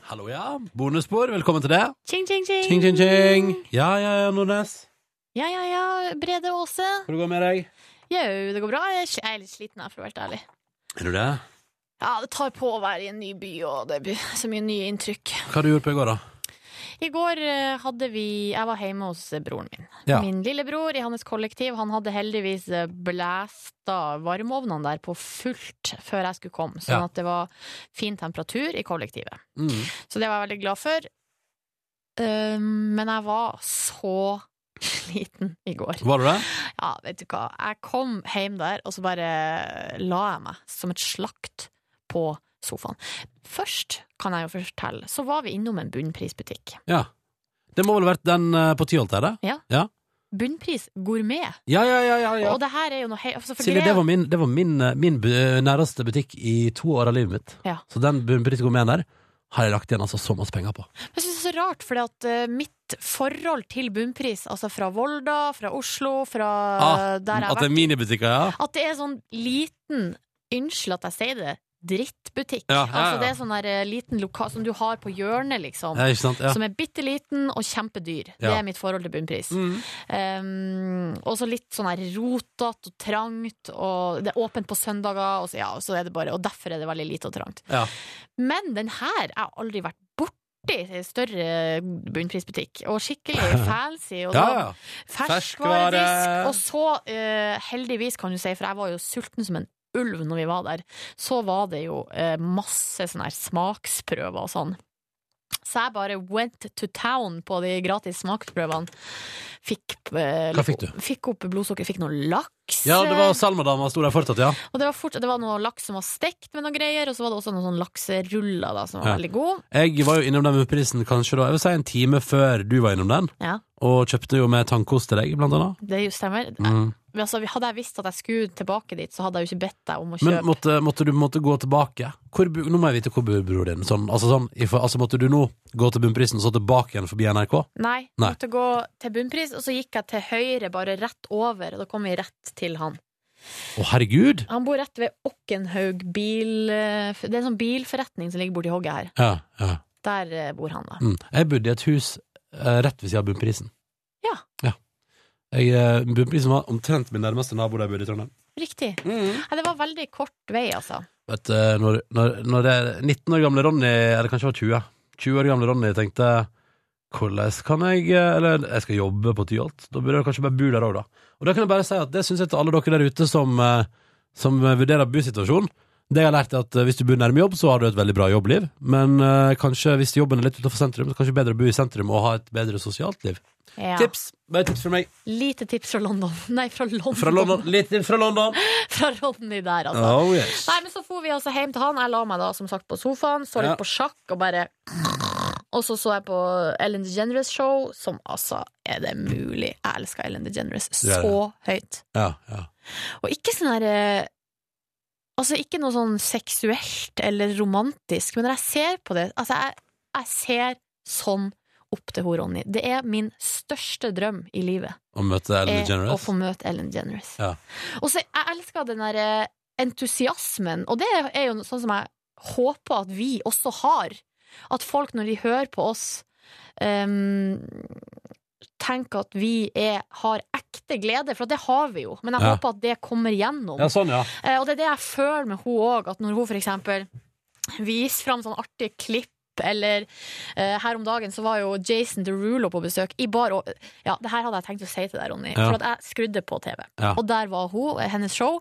E: Hallo, ja. Bonusspor, velkommen til det.
F: Ching, ching, ching.
E: Tjing, tjing, tjing. Ja, ja, ja, Nordnes.
F: Ja, ja, ja. Brede Aase.
E: Hvordan går det med deg?
F: Jau, det går bra. Jeg er sl- jeg er litt sliten, jeg, for å være helt ærlig.
E: Er du det?
F: Ja, det tar på å være i en ny by, og det blir så mye nye inntrykk.
E: Hva har du gjort på i går, da?
F: I går eh, hadde vi Jeg var hjemme hos eh, broren min.
E: Ja.
F: Min lillebror i hans kollektiv. Han hadde heldigvis eh, blæsta varmeovnene der på fullt før jeg skulle komme, sånn
H: Ja.
F: at det var fin temperatur i kollektivet.
E: Mm.
F: Så det var jeg veldig glad for. Eh, men jeg var så sliten i går.
E: Var du det?
F: Ja, vet du hva. Jeg kom hjem der, og så bare la jeg meg som et slakt på sofaen. Først, kan jeg jo fortelle, så var vi innom en bunnprisbutikk.
E: Ja. Det må vel ha vært den eh, på Tyholt der, det?
F: Ja.
E: Ja,
F: Bunnpris gourmet.
E: ja, ja. ja, ja, ja.
F: Og det her er jo noe he altså, for
E: Silje, det
F: er-
E: var min, det var min, eh, min bu- nærmeste butikk i to år av livet mitt.
F: Ja.
E: Så den bunnprisgourmeten der har jeg lagt igjen altså så masse penger på.
F: Jeg synes det er så rart, for mitt forhold til bunnpris, altså fra Volda, fra Oslo, fra
E: Ah,
F: der jeg
E: at
F: har
E: det er
F: vært
E: minibutikker, ja.
F: At det er sånn liten Unnskyld at jeg sier det. Drittbutikk.
E: Ja, ja, ja.
F: Altså Det er sånn der eh, liten lokal som du har på hjørnet, liksom.
E: Ja, ikke sant, ja.
F: Som er bitte liten og kjempedyr. Det
E: Ja.
F: er mitt forhold til bunnpris.
E: Mm.
F: Um, og så litt sånn her rotete og trangt, og det er åpent på søndager, og, så, ja, og, så er det bare, og derfor er det veldig lite og trangt.
E: Ja.
F: Men den her Jeg har aldri vært borti større bunnprisbutikk. Og skikkelig fancy. Og det
E: Ja, ja.
F: var
E: Ferskvare.
F: Ferskvaredisk. Og så, eh, heldigvis, kan du si, for jeg var jo sulten som en ulv når vi var der, så var det jo eh, masse sånne her smaksprøver og sånn. Så jeg bare went to town på de gratis smaksprøvene. Fikk, eh,
E: Hva fikk du?
F: fikk opp blodsukker, fikk noe laks. eh,
E: Ja, det var Salmadama sto der fortsatt, ja.
F: Og det var, fort, det var noe laks som var stekt med noen greier, og så var det også noen sånn lakseruller da, som var
E: Ja.
F: veldig god.
E: Jeg var jo innom den bunnprisen kanskje da, jeg vil si en time før du var innom den,
F: Ja,
E: og kjøpte jo med tannkost til deg, blant annet.
F: det jo stemmer.
E: Mm.
F: Men altså, hadde jeg visst at jeg skulle tilbake dit, så hadde jeg jo ikke bedt deg om å
E: Men
F: kjøpe.
E: måtte, måtte du måtte gå tilbake? Hvor, bo- nå må jeg vite hvor bor bror din. Sånn, altså, sånn, i for- altså Måtte du nå gå til bunnprisen og så tilbake igjen forbi NRK?
F: Nei, jeg
E: Nei.
F: måtte gå til bunnpris, og så gikk jeg til høyre, bare rett over, og da kom vi rett til han.
E: Å, herregud!
F: Han bor rett ved Okkenhaug bil... Det er en sånn bilforretning som ligger borti hogget her.
E: Ja, ja.
F: Der eh, bor han, da.
E: Mm. Jeg bodde i et hus eh, rett ved siden av bunnprisen.
F: Ja.
E: Jeg, eh, bunnprisen var omtrent min nærmeste nabo der jeg bodde i Trondheim.
F: Riktig. Nei, det var veldig kort vei, altså.
E: Vet, du, når, når, når det 19 år gamle Ronny, eller kanskje det var 20, 20 år gamle Ronny tenkte hvordan kan jeg eh, Eller jeg skal jobbe på Tyholt. Da burde jeg kanskje bare bo der òg, da. Og da kan jeg bare si at det syns jeg til alle dere der ute som, eh, som vurderer bosituasjon. Det jeg har lært er at eh, Hvis du bor nærme jobb, så har du et veldig bra jobbliv. Men eh, kanskje hvis jobben er litt utenfor sentrum, så kanskje bedre å bo i sentrum og ha et bedre sosialt liv.
F: Ja.
E: Tips! Bare tips fra meg.
F: Lite tips fra London. Nei, fra London.
E: Fra London. Litt tips fra London.
F: Fra Ronny der, altså.
E: Oh, yes.
F: Nei, men så for vi altså hjem til han. Jeg la meg da som sagt på sofaen, så litt
E: Ja.
F: på sjakk og bare Og så så jeg på Ellen DeGeneres show, som altså Er det mulig? Jeg elsker Ellen DeGeneres
E: Du gjør det.
F: så høyt.
E: Ja, ja.
F: Og ikke sånn her eh, Altså ikke noe sånn seksuelt eller romantisk, men når jeg ser på det Altså, jeg, jeg ser sånn opp til hun Ronny. Det er min største drøm i livet.
E: Å møte Ellen
F: Er Eh, å
E: DeGeneres.
F: få møte Ellen DeGeneres.
E: Ja.
F: Og så jeg elsker den der eh, entusiasmen, og det er jo sånn som jeg håper at vi også har. At folk, når de hører på oss, em, tenke ehm, at vi er, har ekte glede, for det har vi jo. Men jeg
E: Ja.
F: håper at det kommer gjennom.
E: Ja, sånn, ja.
F: Eh, Og det er det jeg føler med hun òg, at når hun for eksempel viser fram sånn artige klipp eller eh, her om dagen så var jo Jason Derulo på besøk i bar. Og, ja, det her hadde jeg tenkt å si til deg, Ronny,
R: Ja.
F: for at jeg skrudde på TV.
R: Ja.
F: Og der var hun, eh, hennes show.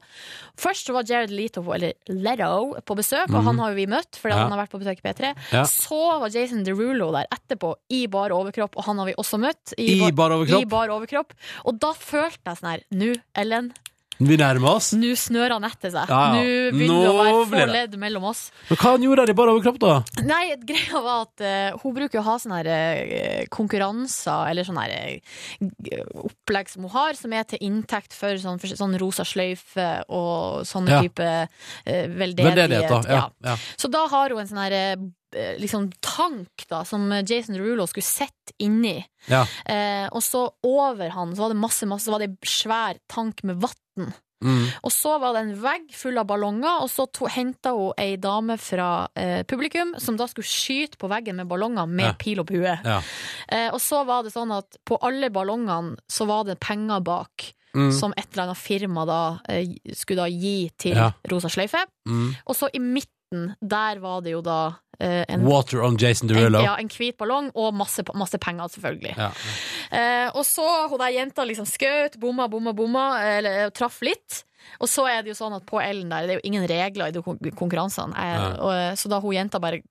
F: Først så var Jared Leto, eller Leto, på besøk,
R: Mhm.
F: og han har jo vi møtt, fordi
R: Ja.
F: han har vært på besøk i P3.
E: Ja.
F: Så var Jason Derulo der etterpå, i bar overkropp, og han har vi også møtt.
E: I bar overkropp?
F: I bar overkropp. Og da følte jeg sånn her, nå, Ellen,
E: Vi nærmer oss.
F: nå snører han etter seg.
E: Ja, ja.
F: Nå begynner det å være
E: Nå blir
F: få
E: det.
F: ledd mellom oss.
E: Men hva han gjorde der i bar overkropp, da?
F: Nei, greia var at eh, hun bruker å ha sånne her, eh, konkurranser eller sånne her, eh, opplegg som hun har, som er til inntekt for sånn, for sånn rosa sløyfe og sånne
E: Ja.
F: type eh, veldedighet.
E: Veldedighet, da. Ja,
F: Ja.
E: ja.
F: Så da har hun en sånn her eh, liksom tank da, som Jason Derulo skulle sett inni.
E: Ja.
F: Eh, og så over han så var det masse, masse, så var det en svær tank med vann.
E: Mm.
F: Og så var det en vegg full av ballonger, og så to- henta hun ei dame fra eh, publikum som da skulle skyte på veggen med ballonger med
R: Ja.
F: pil og bue.
R: Ja.
F: Eh, og så var det sånn at på alle ballongene så var det penger bak.
R: Mm.
F: Som et eller annet firma da eh, skulle da gi til
E: Ja.
F: Rosa sløyfe.
E: Mm.
F: Og så i midten, der var det jo da eh, en,
E: Water on Jason Derulo.
F: en, ja, en hvit ballong og masse, masse penger, selvfølgelig.
E: Ja.
F: Eh, og så hun der jenta liksom skjøt, bomma, bomma, bomma, eller eh, traff litt. Og så er det jo sånn at på Ellen der, det er jo ingen regler i de kon- konkurransene. Eh,
R: Ja.
F: og, eh, så da hun jenta bare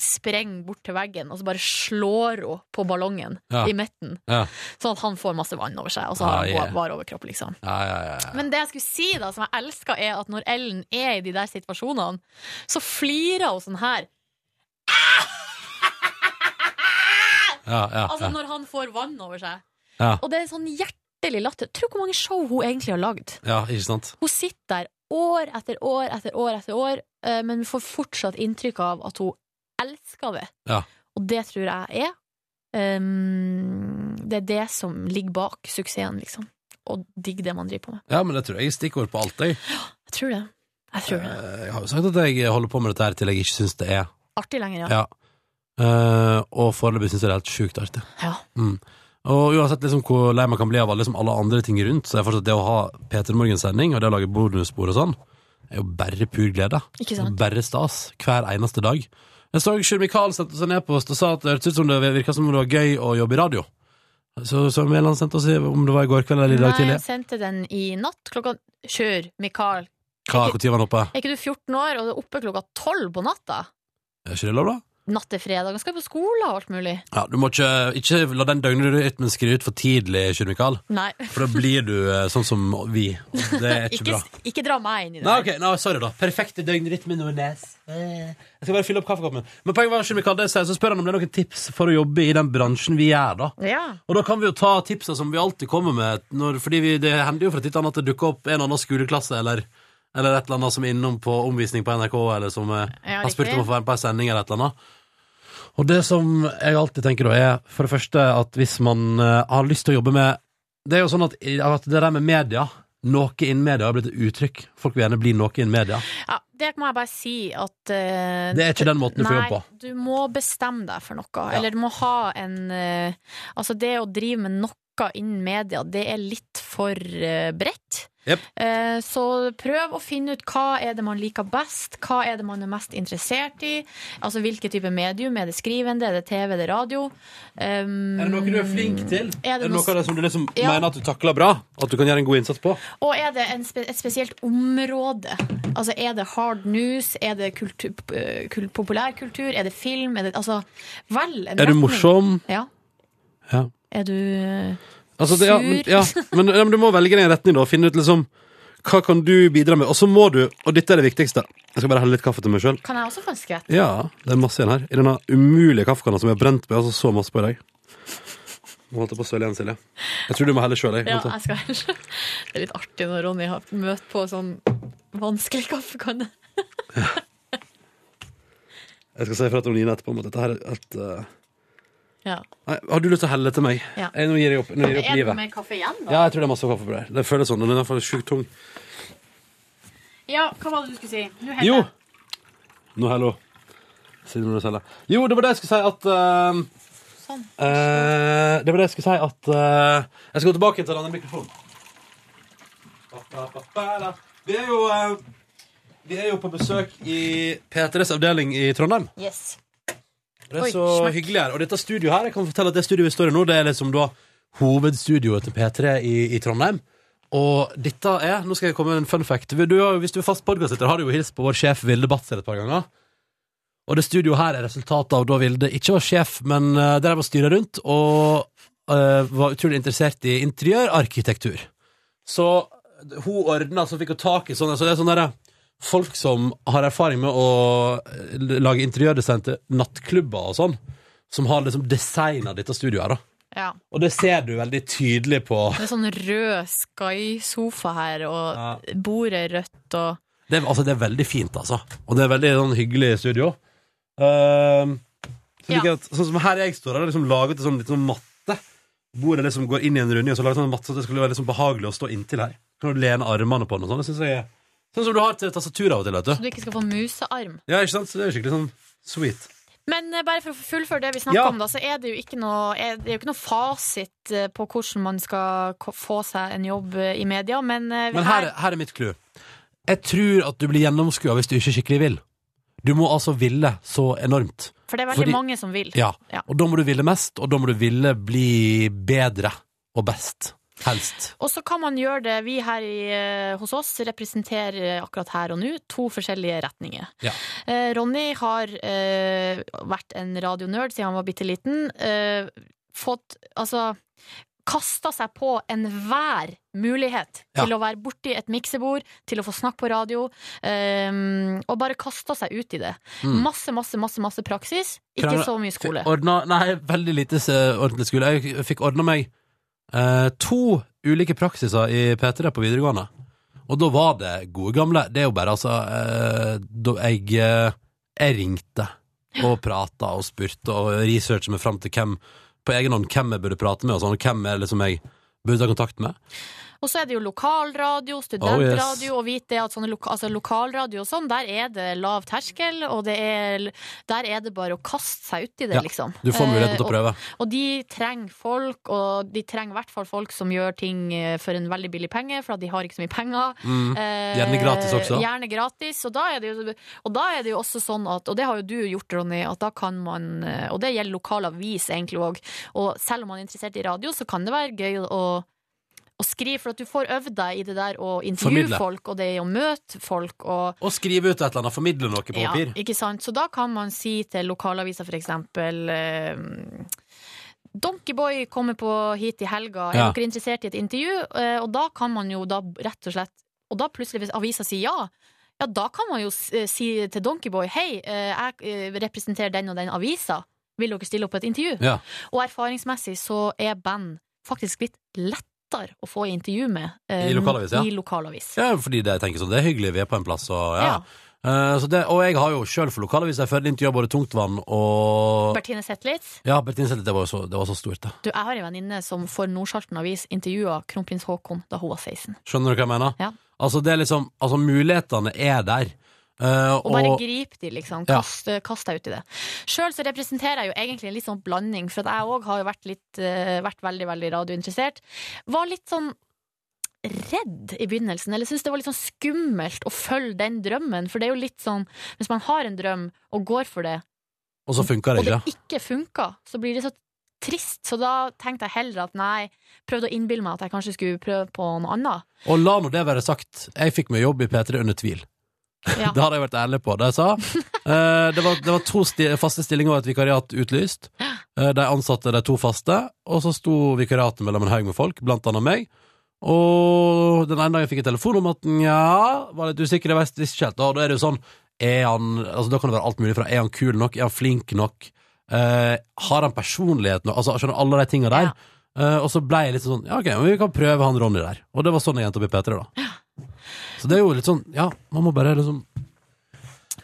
F: sprenger bort til veggen, og så bare slår hun på ballongen
R: Ja.
F: i midten.
R: Ja.
F: Sånn at han får masse vann over seg, og så
R: Ja,
F: har han
R: yeah.
F: yeah. var overkropp, liksom.
E: Ja, ja, ja.
F: Men det jeg skulle si da, som jeg elsker, er at når Ellen er i de der situasjonene, så flirer hun sånn her.
E: ja, ja,
F: Altså
E: ja.
F: når han får vann over seg.
E: Ja.
F: Og det er sånn hjertelig latter. Tro hvor mange show hun egentlig har lagd.
E: ja, ikke sant?
F: Hun sitter der år etter år etter år etter år, eh, men vi får fortsatt inntrykk av at hun elsker det.
E: Ja.
F: Og det tror jeg er ehm, Det er det som ligger bak suksessen, liksom. Å digge det man driver på med.
E: ja, men det tror jeg er stikkord på alt, jeg.
F: Jeg tror det. Jeg tror det.
E: Eh, Jeg har jo sagt at jeg holder på med dette her til jeg ikke syns det er
F: Artig lenger, ja.
E: Ja. Eh, og foreløpig syns jeg det er helt sjukt artig.
F: Ja.
E: Mm. Og uansett liksom hvor lei man kan bli av alle, liksom alle andre ting rundt, så er fortsatt det å ha Peter Morgen-sending og det å lage bonusbord og sånn, er jo bare pur glede.
F: Ikke sant?
E: Bare stas. Hver eneste dag. Jeg så Sjur Mikael sendte oss en e-post og sa at det hørtes ut som det virka som om det var gøy å jobbe i radio. Så, så Mæland sendte oss i- om det var i går kveld eller i dag
F: Nei,
E: tidlig.
F: jeg sendte den i natt klokka Kjør, Mikael.
E: Hva, Når var han oppe?
F: Er ikke du 14 år og du er oppe klokka 12 på natta?
E: Er ikke det lov, da?
F: Natt til fredag. Han skal på skole og alt mulig.
E: Ja, du må ikke, ikke la den døgnrytmen skrive ut for tidlig, Sjur Mikael.
F: Nei.
E: For da blir du eh, sånn som vi. Og det er ikke bra.
F: ikke dra meg inn i det.
E: Nei, ok, nei, sorry da Perfekte døgnrytme Nordnes Eh, Jeg skal bare fylle opp kaffekoppen Men poenget var Sjur Mikael, det sier, så spør han om det er noen tips For å jobbe i den bransjen vi gjør da Og da kan vi jo ta tipsa som vi alltid kommer med når, Fordi vi, det hender jo fra titt og annet At det dukker opp en eller annen skoleklasse Eller, eller et eller annet som er innom på omvisning på NRK Eller som eh,
K: Ja,
E: har spurt
K: riktig.
E: om å få være på en sending Eller et eller annet og det som jeg alltid tenker da er For det første at hvis man eh, har lyst til å jobbe med Det er jo sånn at, at det der med media Noe innen media har blitt et uttrykk Folk vil gjerne bli noe innen media
F: Ja, det må jeg bare si at eh,
E: Det er ikke den måten du får
F: nei,
E: jobb på.
F: Du må bestemme deg for noe, eller du må ha en eh, Altså, det å drive med noe innen media, det er litt for eh, bredt.
E: Jep.
F: Eh, Så prøv å finne ut hva er det man liker best, hva er det man er mest interessert i. Altså hvilke type medium. Er det skrivende, er det TV, er det radio? Um,
E: Er det noe du er flink til?
F: Er det, noe,
E: av det som du liksom
F: Ja.
E: mener at du takler bra? At du kan gjøre en god innsats på?
F: Og er det en spe et spesielt område? Altså er det hard news, er det kultur, eh, kul populærkultur, er det film? Er det, altså, vel, en
E: Er du
F: retning.
E: morsom?
F: Ja.
E: Ja.
F: Er du eh,
E: Altså, det, ja, men,
F: sur?
E: ja, men, ja, men du må velge deg en retning, da. og Finne ut liksom hva kan du bidra med. Og så må du, og dette er det viktigste Jeg skal bare helle litt kaffe til meg sjøl.
F: Kan jeg også få en skvett?
E: Ja, det er masse igjen her. I denne umulige kaffekanna som jeg har brent meg altså så masse på i dag. Nå holdt jeg på å søle igjen, Silje. Jeg tror du må helle sjøl, jeg.
F: Ja,
E: Vent da.
F: jeg skal Det er litt artig når Ronny har møtt på sånn vanskelig kaffekanne.
E: Jeg skal si ifra til Nina etterpå om at dette her er et eh,
F: Ja.
E: Nei, har du lyst til å helle til meg?
F: Ja.
E: Jeg, nå gir jeg opp, nå gir jeg opp
F: Er det
E: livet.
F: mer kaffe igjen, da?
E: Ja, jeg tror det er masse kaffe på det. her. Det føles sånn. og Den er i hvert fall sjukt tung.
F: Ja, hva var det du skulle si? Nå heller
E: Jo!
F: jeg.
E: Nå, hallo. Sier du når du selger. Jo, det var det jeg skulle si, at eh,
F: Sånn.
E: Eh, det var det jeg skulle si at eh, Jeg skal gå tilbake til denne mikrofonen. Vi er jo eh, Vi er jo på besøk i P3s avdeling i Trondheim.
K: Yes.
E: Det er
K: Oi,
E: så
K: smekk.
E: hyggelig her. Og dette studioet her, jeg kan fortelle at det studioet vi står i nå, det er liksom da hovedstudioet til P3 i, i Trondheim. Og dette er Nå skal jeg komme med en fun fact. Du, har jo- hvis du er fast podkastlytter, har du jo hilst på vår sjef Vilde Batzer et par ganger. Og det studioet her er resultatet av da Vilde ikke var sjef, men eh, drev og styra rundt, og eh, var utrolig interessert i interiørarkitektur. Så hun ordna, så fikk hun tak i sånne. Så det er sånne der, folk som har erfaring med å eh, lage interiørdesign til nattklubber og sånn, som har liksom designa dette studioet her, da.
F: Ja.
E: Og det ser du veldig tydelig på.
F: Det er sånn rød Sky-sofa her, og bordet er rødt og
E: Det er, altså, det er veldig fint, altså. Og det er veldig sånn, hyggelig studio. Ehm, så liker jeg at, sånn som her jeg står, har jeg liksom laget en sånn, litt sånn matte. Bordet liksom går inn i en runde, og så laget jeg sånn matte, så det skulle være liksom behagelig å stå inntil her. Kan du lene armene på den og sånn. Det synes jeg er sånn som du har til tastaturet av og til, vet
F: Så
E: du.
F: du ikke skal få musearm.
E: Ja, ikke sant? Så det er skikkelig sånn sweet.
F: Men eh, bare for å fullføre det vi snakka
E: Ja.
F: om, da, så er det jo ikke noe, er, det er jo ikke noe fasit eh, på hvordan man skal ko- få seg en jobb eh, i media, men, eh,
E: Men her, her er mitt clue. Jeg tror at du blir gjennomskua hvis du ikke skikkelig vil. Du må altså ville så enormt.
F: For det er veldig mange som vil.
E: Ja.
F: Ja.
E: Og da må du ville mest, og da må du ville bli bedre og best. Helst.
F: Og så kan man gjøre det, vi her i, eh, hos oss representerer akkurat her og nå to forskjellige retninger.
E: Ja.
F: Eh, Ronny har eh, vært en radionerd siden han var bitte liten. Eh, fått, altså Kasta seg på enhver mulighet til
K: Ja.
F: å være borti et miksebord, til å få snakke på radio, eh, og bare kasta seg ut i det.
E: Mm.
F: Masse, masse, masse, masse praksis, ikke
E: Krangla-
F: så mye skole.
E: Fikk Ordna, nei, veldig lite eh, ordentlig skole. Jeg fikk ordna meg eh, to ulike praksiser i P3 på videregående. Og da var det gode gamle. Det er jo bare altså eh, Da jeg, eh, jeg ringte og prata og spurte og researcha meg fram til hvem på egen hånd hvem jeg burde prate med, og sånn, og hvem er det som jeg burde ta kontakt med.
F: Og så er det jo lokalradio,
E: Oh, yes.
F: studentradio, og vit det at sånne loka, altså lokalradio og sånn, der er det lav terskel, og det er, der er det bare å kaste seg uti det,
E: Ja,
F: liksom.
E: du får muligheten til å
F: Eh,
E: prøve.
F: Og, og de trenger folk, og de trenger i hvert fall folk som gjør ting eh, for en veldig billig penge, for at de har ikke så mye penger. Eh,
E: Mm. Gjerne gratis også.
F: Gjerne gratis, og da, er det jo, og da er det jo også sånn at, og det har jo du gjort, Ronny, at da kan man, eh, og det gjelder lokalavis egentlig òg, og selv om man er interessert i radio, så kan det være gøy å å skrive, for at du får øvd deg i det der å intervjue
E: Formidle.
F: folk, og det å møte folk, og
E: Og skrive ut et eller annet, formidle noe på
F: ja,
E: papir.
F: ikke sant? Så da kan man si til lokalavisa for eksempel eh, Donkeyboy kommer på hit i helga, er
E: Ja.
F: dere interessert i et intervju? Eh, og da kan man jo da rett og slett Og da plutselig, hvis avisa sier ja, ja, da kan man jo s- eh, si til Donkeyboy Hei, eh, jeg eh, representerer den og den avisa. Vil dere stille opp på et intervju?
E: Ja.
F: Og erfaringsmessig så er band faktisk litt lettere å få intervju med eh,
E: I lokalavis, ja.
F: i lokalavis.
E: Ja, fordi det, jeg tenker sånn, det er hyggelig, vi er på en plass, og ja.
F: Ja.
E: Eh, så det, og jeg har jo sjøl for lokalavis, jeg føler intervjua både Tungtvann og
F: Bertine Zetlitz,
E: Ja, Bertine Zelte, det var jo så, det var så stort, da.
F: du, jeg har en venninne som for Nordsjarten Avis intervjua kronprins Haakon da hun var 16.
E: Skjønner du hva jeg mener?
F: Ja.
E: Altså, det er liksom, altså mulighetene er der. Eh,
F: Og bare grip de, liksom.
E: Ja.
F: Kast, kast deg ut i det. Sjøl så representerer jeg jo egentlig en litt sånn blanding, for at jeg òg har jo vært litt eh, Vært veldig, veldig radiointeressert. Var litt sånn redd i begynnelsen, eller syntes det var litt sånn skummelt å følge den drømmen, for det er jo litt sånn Hvis man har en drøm og går for det,
E: Og så funka det
F: og det
E: ikke. da.
F: ikke funka, så blir det så trist. Så da tenkte jeg heller at nei, prøvde å innbille meg at jeg kanskje skulle prøve på noe annet.
E: Og la nå det være sagt, jeg fikk meg jobb i P3 under tvil.
F: Ja.
E: det hadde jeg vært ærlig på, det jeg sa. Eh, det, var, det var to sti faste stillinger og et vikariat utlyst. Eh, de ansatte de to faste, og så sto vikariatet mellom en haug med folk, blant annet meg. Og den ene dagen fikk jeg telefon om at nja, var litt usikker, jeg visste ikke helt. Og da er det jo sånn, er han, altså da kan det være alt mulig fra, er han kul nok, er han flink nok, Eh, har han personlighet nok, altså skjønner du, alle de tingene der. Eh, og så ble jeg litt sånn, ja ok, men vi kan prøve han Ronny der. Og det var sånn jeg endte opp i P3 da. Så det er jo litt sånn, ja, man må bare liksom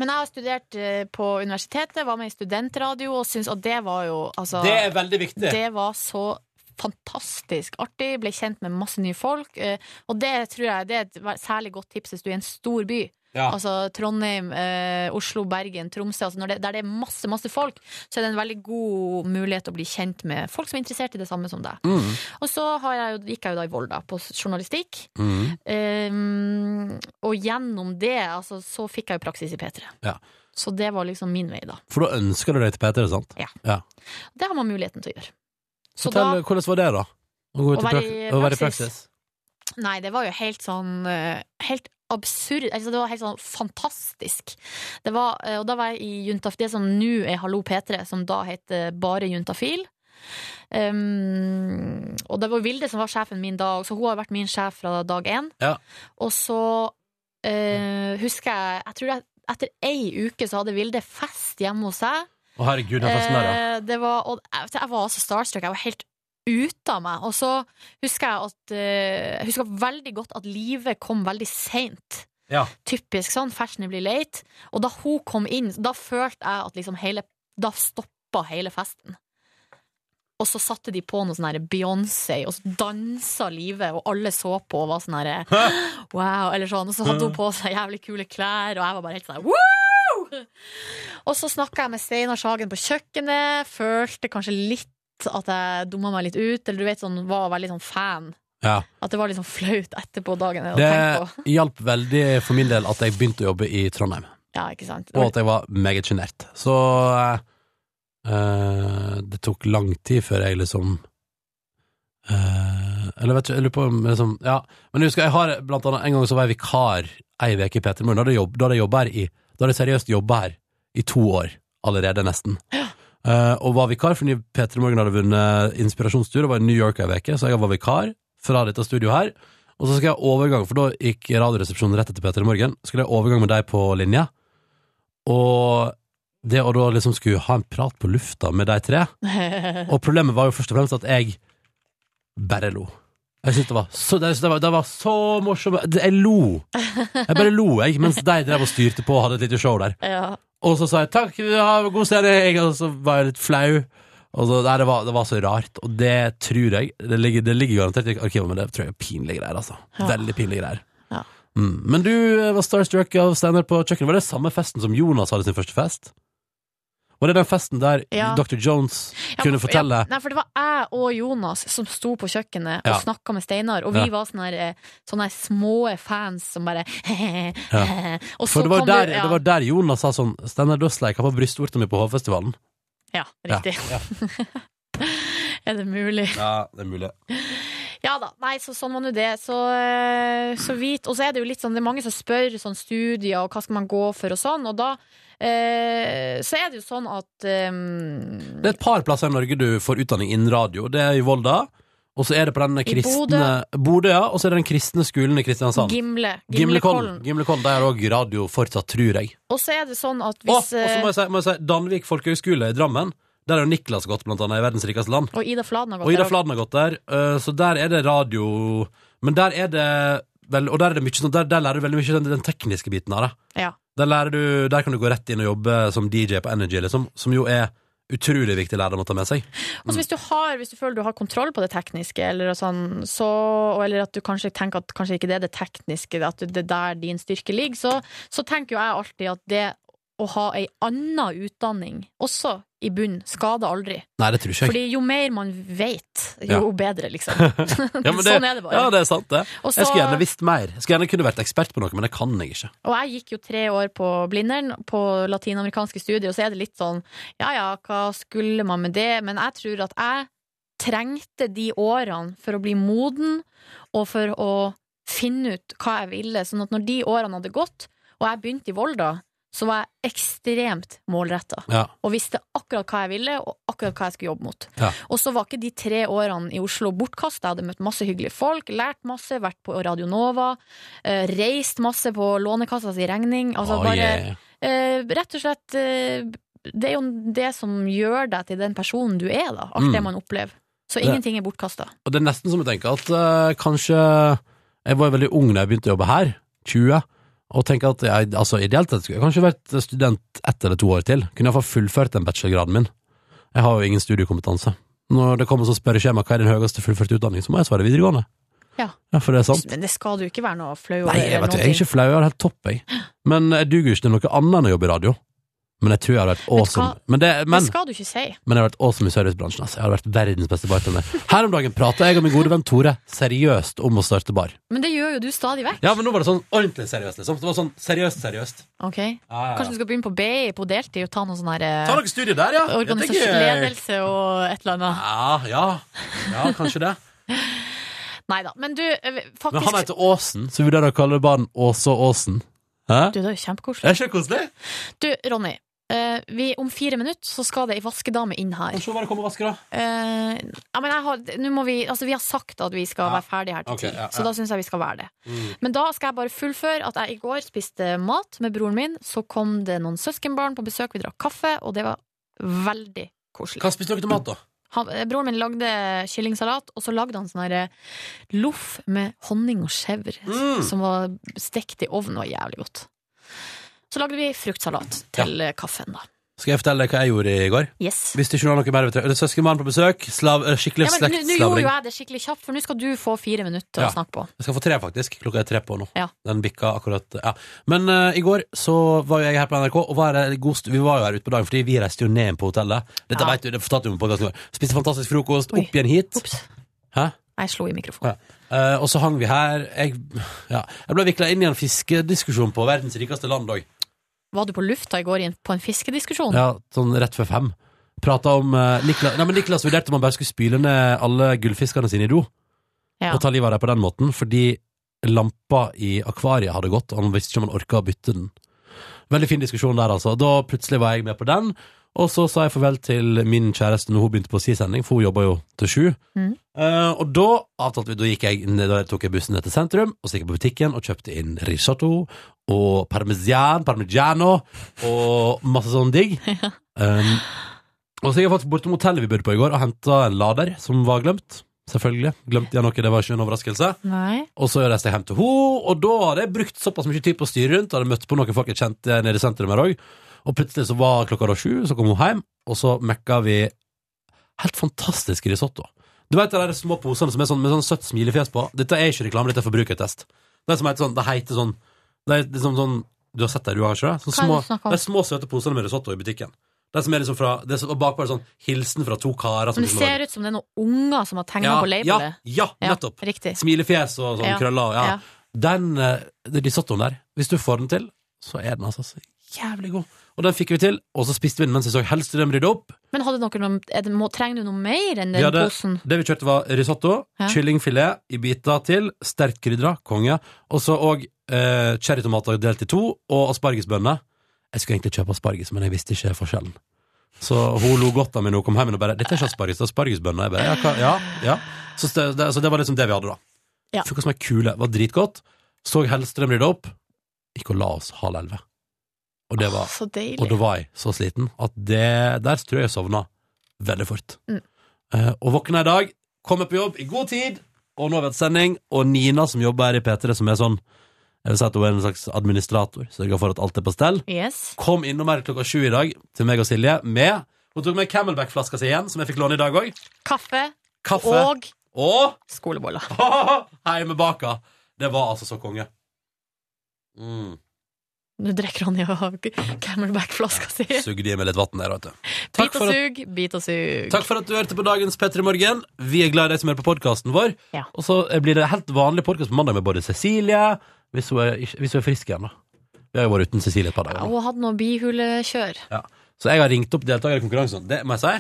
F: Men jeg har studert eh, på universitetet, var med i studentradio, og syns at det var jo altså,
E: Det er veldig viktig.
F: Det var så fantastisk artig. Ble kjent med masse nye folk. eh, Og det tror jeg det er et vær- særlig godt tips hvis du er i en stor by.
R: Ja.
F: Altså Trondheim, eh, Oslo, Bergen, Tromsø. Altså når det, der det er masse, masse folk, så er det en veldig god mulighet å bli kjent med folk som er interessert i det samme som deg.
R: Mm.
F: Og så har jeg, jo- gikk jeg jo da i Volda på journalistikk.
E: Mm.
F: Ehm, og gjennom det altså, så fikk jeg jo praksis i P3.
E: Ja.
F: Så det var liksom min vei, da.
E: For da ønsker du deg til P3, sant?
F: Ja.
E: ja.
F: Det har man muligheten til å gjøre. Så
E: Fortell,
F: da-
E: hvordan var det, da? Å, gå
F: Å
E: ut i
F: være
E: prak-
F: i
E: å være i
F: praksis.
E: praksis?
F: Nei, det var jo helt sånn eh, Helt absurd. Altså, det var helt sånn fantastisk. Det var, eh, og da var jeg i Juntaf, det som nå er Hallo P3, som da heter bare Juntafil. Um, og det var Vilde som var sjefen min da, så hun har vært min sjef fra dag én.
E: Ja.
F: Og så eh, husker jeg Jeg tror jeg, etter ei uke så hadde Vilde fest hjemme hos seg.
E: Å, herregud, den festen der, ja.
F: Eh, det var, og jeg, jeg var altså starstruck. Jeg var helt ute av meg. Og så husker jeg at eh, Jeg husker veldig godt at livet kom veldig seint.
E: Ja.
F: Typisk sånn. Fashionably late. Og da hun kom inn, da følte jeg at liksom hele Da stoppa hele festen. Og så satte de på noe sånn her Beyoncé, og så dansa livet, og alle så på og var sånn her Wow! Eller sånn. Og så hadde hun på seg jævlig kule klær, og jeg var bare helt sånn her, Woo! Og så snakka jeg med Steinar Sagen på kjøkkenet, følte kanskje litt at jeg dumma meg litt ut, eller du vet sånn, var veldig sånn fan.
E: Ja.
F: At det var litt sånn flaut etterpå dagen. å tenke på.
E: Det hjalp veldig for min del at jeg begynte å jobbe i Trondheim,
F: Ja, ikke sant?
E: og at jeg var meget sjenert. Så eh, det tok lang tid før jeg liksom eh, Eller vet ikke, jeg lurer på om liksom, Ja, men jeg husker jeg har blant annet en gang så var jeg vikar ei uke i P3 Morgen. Da hadde jeg jobb- da hadde jeg jobba her i Da hadde jeg seriøst jobba her i to år allerede, nesten. Eh, og var vikar fordi P3 Morgen hadde vunnet inspirasjonstur og var i New York ei uke, så jeg var vikar fra dette studioet her. Og så skal jeg ha overgang, for da gikk Radioresepsjonen rett etter P3 Morgen. Skulle jeg ha overgang med deg på linja, og det å da liksom skulle ha en prat på lufta med de tre
F: Eh.
E: Og problemet var jo først og fremst at jeg bare lo. Jeg syntes det var så, det, det var, det var så morsomt. Jeg lo. Jeg bare lo, jeg, mens de drev og styrte på og hadde et lite show der.
F: Ja.
E: Og så sa jeg takk, ha en god sending, og så var jeg litt flau. Og så, nei, det, var, det var så rart, og det tror jeg Det ligger, det ligger garantert i arkivet, men det tror jeg er pinlige greier, altså. Veldig pinlige greier. Mm. Men du eh, var starstruck av Steinar på kjøkkenet. Var det samme festen som Jonas hadde sin første fest? Var det den festen der
F: Ja.
E: Dr. Jones
F: Ja,
E: kunne
F: for-
E: fortelle
F: ja, Nei, for det var jeg og Jonas som sto på kjøkkenet og
E: Ja.
F: snakket snakka med Steinar, og vi
E: Ja.
F: var sånne, her, eh, sånne her små fans som bare
E: Ja.
F: Og så
E: For det var,
F: kom
E: der,
F: ja.
E: det var der Jonas sa sånn Steinar, da sleika på brystvorta mi på Hovfestivalen.
F: Ja,
E: Ja.
F: riktig.
E: Ja.
F: er det mulig?
E: Ja, det er mulig.
F: Ja da, nei, så sånn var nå det. Så, eh, så vidt. Og så er det jo litt sånn, det er mange som spør sånn studier og hva skal man gå for og sånn, og da eh, så er det jo sånn at eh,
E: Det er et par plasser i Norge du får utdanning innen radio. Det er i Volda, og så er det på den kristne Bodø, ja, og så er det den kristne skolen i Kristiansand.
F: Gimle.
E: Gimlekollen.
F: Gimlekollen.
E: Gimlekollen, Der er òg radio fortsatt, tror jeg.
F: Og så er det sånn at
E: Å,
F: hvis
E: og så må jeg si, må jeg si Danvik folkehøgskole i Drammen. Der har Niklas gått, blant annet, i Verdens rikeste land.
F: eh, Og Ida Fladen har gått
E: Og Ida
F: der.
E: Fladen har gått der, eh, så der er det radio Men der er det vel, Og der er det mye sånn, der, der lærer du veldig mye den, den tekniske biten av det.
F: Ja.
E: Der, lærer du, der kan du gå rett inn og jobbe som DJ på Energy, liksom, som jo er utrolig viktig lærdom å ta med seg.
F: Og så Altså, hvis du, har, hvis du føler du har kontroll på det tekniske, eller, sånn, så, og- eller at du kanskje tenker at kanskje ikke det er det tekniske, at det er der din styrke ligger, så, så tenker jo jeg alltid at det å ha ei anna utdanning, også i bunnen, skader aldri.
E: Nei, det tror ikke jeg.
F: Fordi jo mer man vet, jo
E: Ja.
F: bedre, liksom.
E: ja, men
F: sånn er det bare.
E: Ja, det er sant, det.
F: Og så-
E: Jeg skulle gjerne visst mer. Jeg skulle gjerne kunne vært ekspert på noe, men det kan jeg ikke.
F: Og jeg gikk jo tre år på Blindern, på latinamerikanske studier, og så er det litt sånn ja ja, hva skulle man med det? Men jeg tror at jeg trengte de årene for å bli moden, og for å finne ut hva jeg ville. Sånn at når de årene hadde gått, og jeg begynte i Volda, så var jeg ekstremt målretta.
E: Ja.
F: Og visste akkurat hva jeg ville, og akkurat hva jeg skulle jobbe mot.
E: Ja.
F: Og så var ikke de tre årene i Oslo bortkasta. Jeg hadde møtt masse hyggelige folk, lært masse, vært på Radio Nova, eh, reist masse på Lånekassa si regning. Altså
E: Oh,
F: bare
E: yeah.
F: eh, Rett og slett eh, Det er jo det som gjør deg til den personen du er, da. Alt
E: Mm.
F: det man opplever. Så
E: Det-
F: ingenting er bortkasta.
E: Og det er nesten som jeg tenker at eh, kanskje Jeg var jo veldig ung da jeg begynte å jobbe her, 20, og tenker at jeg, altså ideelt sett skulle jeg kanskje vært student ett eller to år til. Kunne iallfall fullført den bachelorgraden min. Jeg har jo ingen studiekompetanse. Når det kommer sånn spørreskjema hva er din høyeste fullførte utdanning, så må jeg svare videregående.
F: Ja.
E: Ja, for det er sant.
F: Men det skal du ikke være noe flau over.
E: Nei, jeg
F: eller noen
E: vet du, jeg er
F: ting.
E: ikke flau, jeg har det helt topp, jeg. Men eh, jeg duger jo ikke til noe annet enn å jobbe i radio. Men jeg tror jeg hadde vært
F: Men
E: awesome.
F: hva-
E: Men det, men,
F: det skal du ikke si.
E: men jeg har vært awesome i servicebransjen. Altså. Jeg har vært verdens beste bartender. Her om dagen prata jeg og min gode venn Tore seriøst om å starte bar.
F: Men det gjør jo du stadig vekk.
E: Ja, men nå var det sånn ordentlig seriøst, liksom. Det var sånn seriøst, seriøst.
F: Ok,
E: Ja, ja, ja.
F: Kanskje du skal begynne på BI på deltid og ta noe sånn her eh,
E: Ta noe studie der, ja. Ja, det er
F: Organisasjon,
E: gøy.
F: ledelse og et eller annet.
E: Ja, ja. Ja, kanskje det.
F: Nei da. Men du, eh,
E: Men han
F: faktisk
E: heter Åsen, så vi vurderer å kalle barn Åse Åsen. Hæ?
F: Du, det er jo kjempekoselig.
E: Er ikke det koselig?
F: Du, Ronny. eh, vi, om fire minutter så skal det ei vaskedame inn her.
E: Se hva det kommer vasker, da.
F: Eh, ja, men jeg har, nå må vi, altså, vi har sagt at vi skal være ferdige her til
E: Ok,
F: ti,
E: ja, Mm.
F: så
E: ja.
F: da syns jeg vi skal være det. Men da skal jeg bare fullføre at jeg i går spiste mat med broren min. Så kom det noen søskenbarn på besøk, vi drakk kaffe, og det var veldig koselig.
E: Hva spiste dere til mat, da?
F: Han, eh, broren min lagde kyllingsalat, og så lagde han sånn her, eh, loff med honning og skjevr
E: Mm.
F: som var stekt i ovnen. Det var jævlig godt. Så lagde vi fruktsalat til eh, kaffen, da.
E: Skal jeg fortelle deg hva jeg gjorde i går?
F: Yes.
E: Hvis det ikke var noe mer, vet du. Det er søskenbarn på besøk. Slav,
F: Ja,
E: eh,
F: men
E: skikkelig
F: nå- nå gjorde
E: slektsslavring.
F: jo jeg det skikkelig kjapt, for nå skal du få fire minutter å snakke på.
E: Jeg skal få tre, faktisk. Klokka er tre på nå.
F: Ja.
E: Den bikka akkurat ja. Men eh, i går så var jo jeg her på NRK, og var her, i god st vi var jo her ute på dagen fordi vi reiste jo ned på hotellet. Dette
F: Ja.
E: vet du, det fortalte du om på podcasten i går. Spiste fantastisk frokost, opp igjen hit. Hæ?
F: Jeg slo i mikrofonen.
E: Eh, og så hang vi her. Jeg, ja. jeg ble vikla inn i en fiskediskusjon på verdens rikeste land òg.
F: Var du på lufta i går i en- på en fiskediskusjon?
E: Ja, sånn rett før fem. Prata om eh, Niklas, nei, men Niklas vurderte om han bare skulle spyle ned alle gullfiskene sine i do.
F: Ja.
E: Og ta livet av dem på den måten, fordi lampa i akvariet hadde gått, og han visste ikke om han orka å bytte den. Veldig fin diskusjon der, altså. Da plutselig var jeg med på den. Og så sa jeg farvel til min kjæreste når hun begynte på si sending, for hun jobba jo til sju.
F: Mm.
E: Eh, og da avtalte vi, da, gikk jeg, ned- da tok jeg bussen ned til sentrum, og så gikk jeg på butikken og kjøpte inn risotto og parmesan, parmigiano og masse sånn digg. um, og så gikk jeg faktisk bortom hotellet vi bodde på i går og henta en lader som var glemt. Selvfølgelig. Glemte jeg noe, det var ikke en overraskelse.
F: Nei.
E: Og så reiste jeg hjem til henne, og da hadde jeg brukt såpass mye tid på å styre rundt, hadde møtt på noen folk jeg kjente nede i sentrum her òg, og plutselig så var klokka da sju, så kom hun hjem, og så mekka vi helt fantastisk risotto. Du vet de der små posene som er sånn, med sånn søtt smilefjes på? Dette er ikke reklame, dette er forbrukertest. Det som heter sånn, det heter sånn Det er liksom sånn Du har sett det, du har ikke det? Sånn
K: Hva er det
E: små,
K: du snakker om?
E: det er små søte posene med risotto i butikken. Det som er liksom fra, det er så, og bakpå er det sånn hilsen fra to karer som
F: Men det
E: liksom har-
F: ser ut som det er noen unger som har tegna
E: Ja,
F: på labelet.
E: ja, ja, nettopp.
F: Riktig.
E: Smilefjes og sånn
F: Ja.
E: krøller. og- Ja.
F: Ja.
E: Den eh, risottoen der, hvis du får den til, så er den altså så jævlig god. Og den fikk vi til, og så spiste vi den mens vi så helst dem rydde opp.
F: Men hadde dere noe, er det, må, trenger du noe mer enn den
E: Vi hadde,
F: posen?
E: det vi kjøpte, var
F: Mm.
E: risotto,
F: Ja.
E: kyllingfilet i biter til, sterkt krydra, konge, og så òg eh, cherrytomater delt i to, og aspargesbønner. Jeg skulle egentlig kjøpe asparges, men jeg visste ikke forskjellen. Så hun lo godt av meg når hun kom hjem og bare 'Dette er ikke asparges, det er aspargesbønner'. Jeg bare, ja, hva, ja, ja. Så, det, det, så det var liksom det vi hadde, da.
F: Ja.
E: Funka som ei kule. Var dritgodt. Så Hellstrøm rydde opp. Gikk og la oss halv elleve. Og, det var,
F: så deilig.
E: og da var jeg så sliten at det, der tror jeg jeg sovna veldig fort.
F: Mm.
E: Eh, og våkna i dag, kommer på jobb i god tid, og nå har vi hatt sending. Og Nina, som jobber her i P3, som er sånn Jeg vil si at hun er en slags administrator, sørger for at alt er på stell.
F: Yes.
E: Kom innom her klokka sju i dag til meg og Silje med Hun tok med Camelback-flaska si igjen, som jeg fikk låne i dag òg.
F: Kaffe.
E: Kaffe.
F: Og
E: Og
F: skoleboller.
E: Heimebaka. Det var altså så konge. Mm.
F: Nå drikker Ronny av Camelback-flaska si.
E: Sugde i meg litt vann der, vet du.
F: Bit og sug, bit og sug.
E: Takk for at du hørte på dagens P3 Morgen. Vi er glad i deg som hører på podkasten vår.
F: Ja.
E: Og så blir det helt vanlig podkast på mandag med både Cecilie, hvis hun er, ikke- hvis hun er frisk igjen, da. Vi har jo vært uten Cecilie et par dager. nå.
F: Og hadde noe bihulekjør.
E: Ja. Så jeg har ringt opp deltakere i konkurransen. Det må jeg si.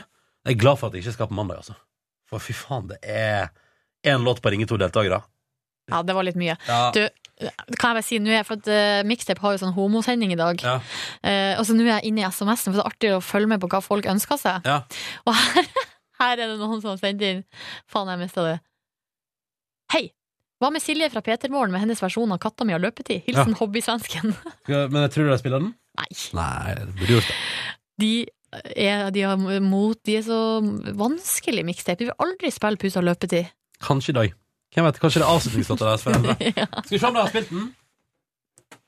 E: Jeg er glad for at jeg ikke skal på mandag, altså. For fy faen, det er én låt på å ringe to deltakere.
F: Ja, det var litt mye.
E: Ja.
F: Du, kan jeg bare si nå, er- for at eh, Mixtape har jo sånn homosending i dag.
E: Ja.
F: Eh, og så nå er jeg inne i SMS-en, for det er artig å følge med på hva folk ønsker seg.
E: Ja.
F: Og her, her er det noen som har sendt inn Faen, jeg mista det. Hei! Hva med Silje fra Petermorgen med hennes versjon av 'Katta mi har løpetid'? Hilsen
E: Ja.
F: hobbysvensken.
E: Skal- Men tror du de spiller den?
F: Nei.
E: Nei, det burde gjort det.
F: De eh, er, de, har mot, de er så vanskelig mixtape. De vil aldri spille 'Pus har løpetid'.
E: Kanskje i dag. Hvem vet, kanskje det er avslutningslåta deres for henne. Skal vi se om de har spilt den?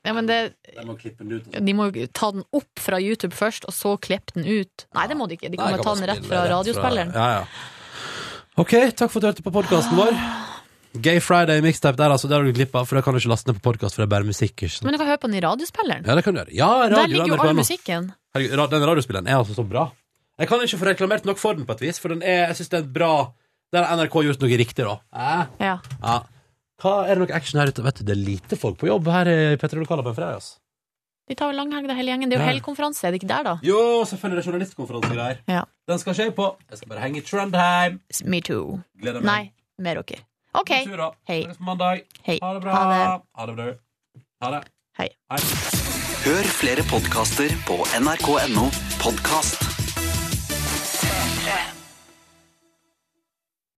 F: Ja, men det,
E: Jeg må klippe den ut. altså.
F: de må jo ta den opp fra YouTube først, og så klippe den ut. Nei, det må de ikke. De
E: Nei,
F: kan bare
E: jeg
F: ta den
E: bare
F: rett
E: spille
F: fra radiospilleren.
E: Ja, ja. OK, takk for at du hørte på podkasten vår. Gay Friday mixtape der, altså. Det har du glipp av, for det kan du ikke laste ned på podkast, for det er bare musikk. Ikke sant?
F: Men du kan høre på den i radiospilleren.
E: Ja, det kan du gjøre. Ja, radio,
F: Der ligger jo
E: NRK
F: all
E: nå.
F: musikken.
E: Herregud, ra- den radiospilleren er altså så bra. Jeg kan ikke få reklamert nok for den, på et vis, for den er, jeg synes det er bra Der har NRK gjort noe riktig, da. Eh?
F: Ja.
E: Ja. Hva Er det noe action her ute? Vet du, Det er lite folk på jobb her i P3-lokalet på en fredag. altså. ass.
F: De tar vel langhelg, da, hele gjengen. Det er jo
E: Ja.
F: helgkonferanse, er det ikke der, da?
E: Jo, selvfølgelig det er journalistkonferansegreier.
F: Ja.
E: Den skal skje på. Jeg skal bare henge i Trondheim.
F: Me too.
E: Gleder meg.
F: Nei, med dere. OK. Hei. Hei.
E: Ha det bra.
F: Ha det.
E: Ha det bra. Ha det.
F: Hei.
N: Hør flere podkaster på nrk.no podkast.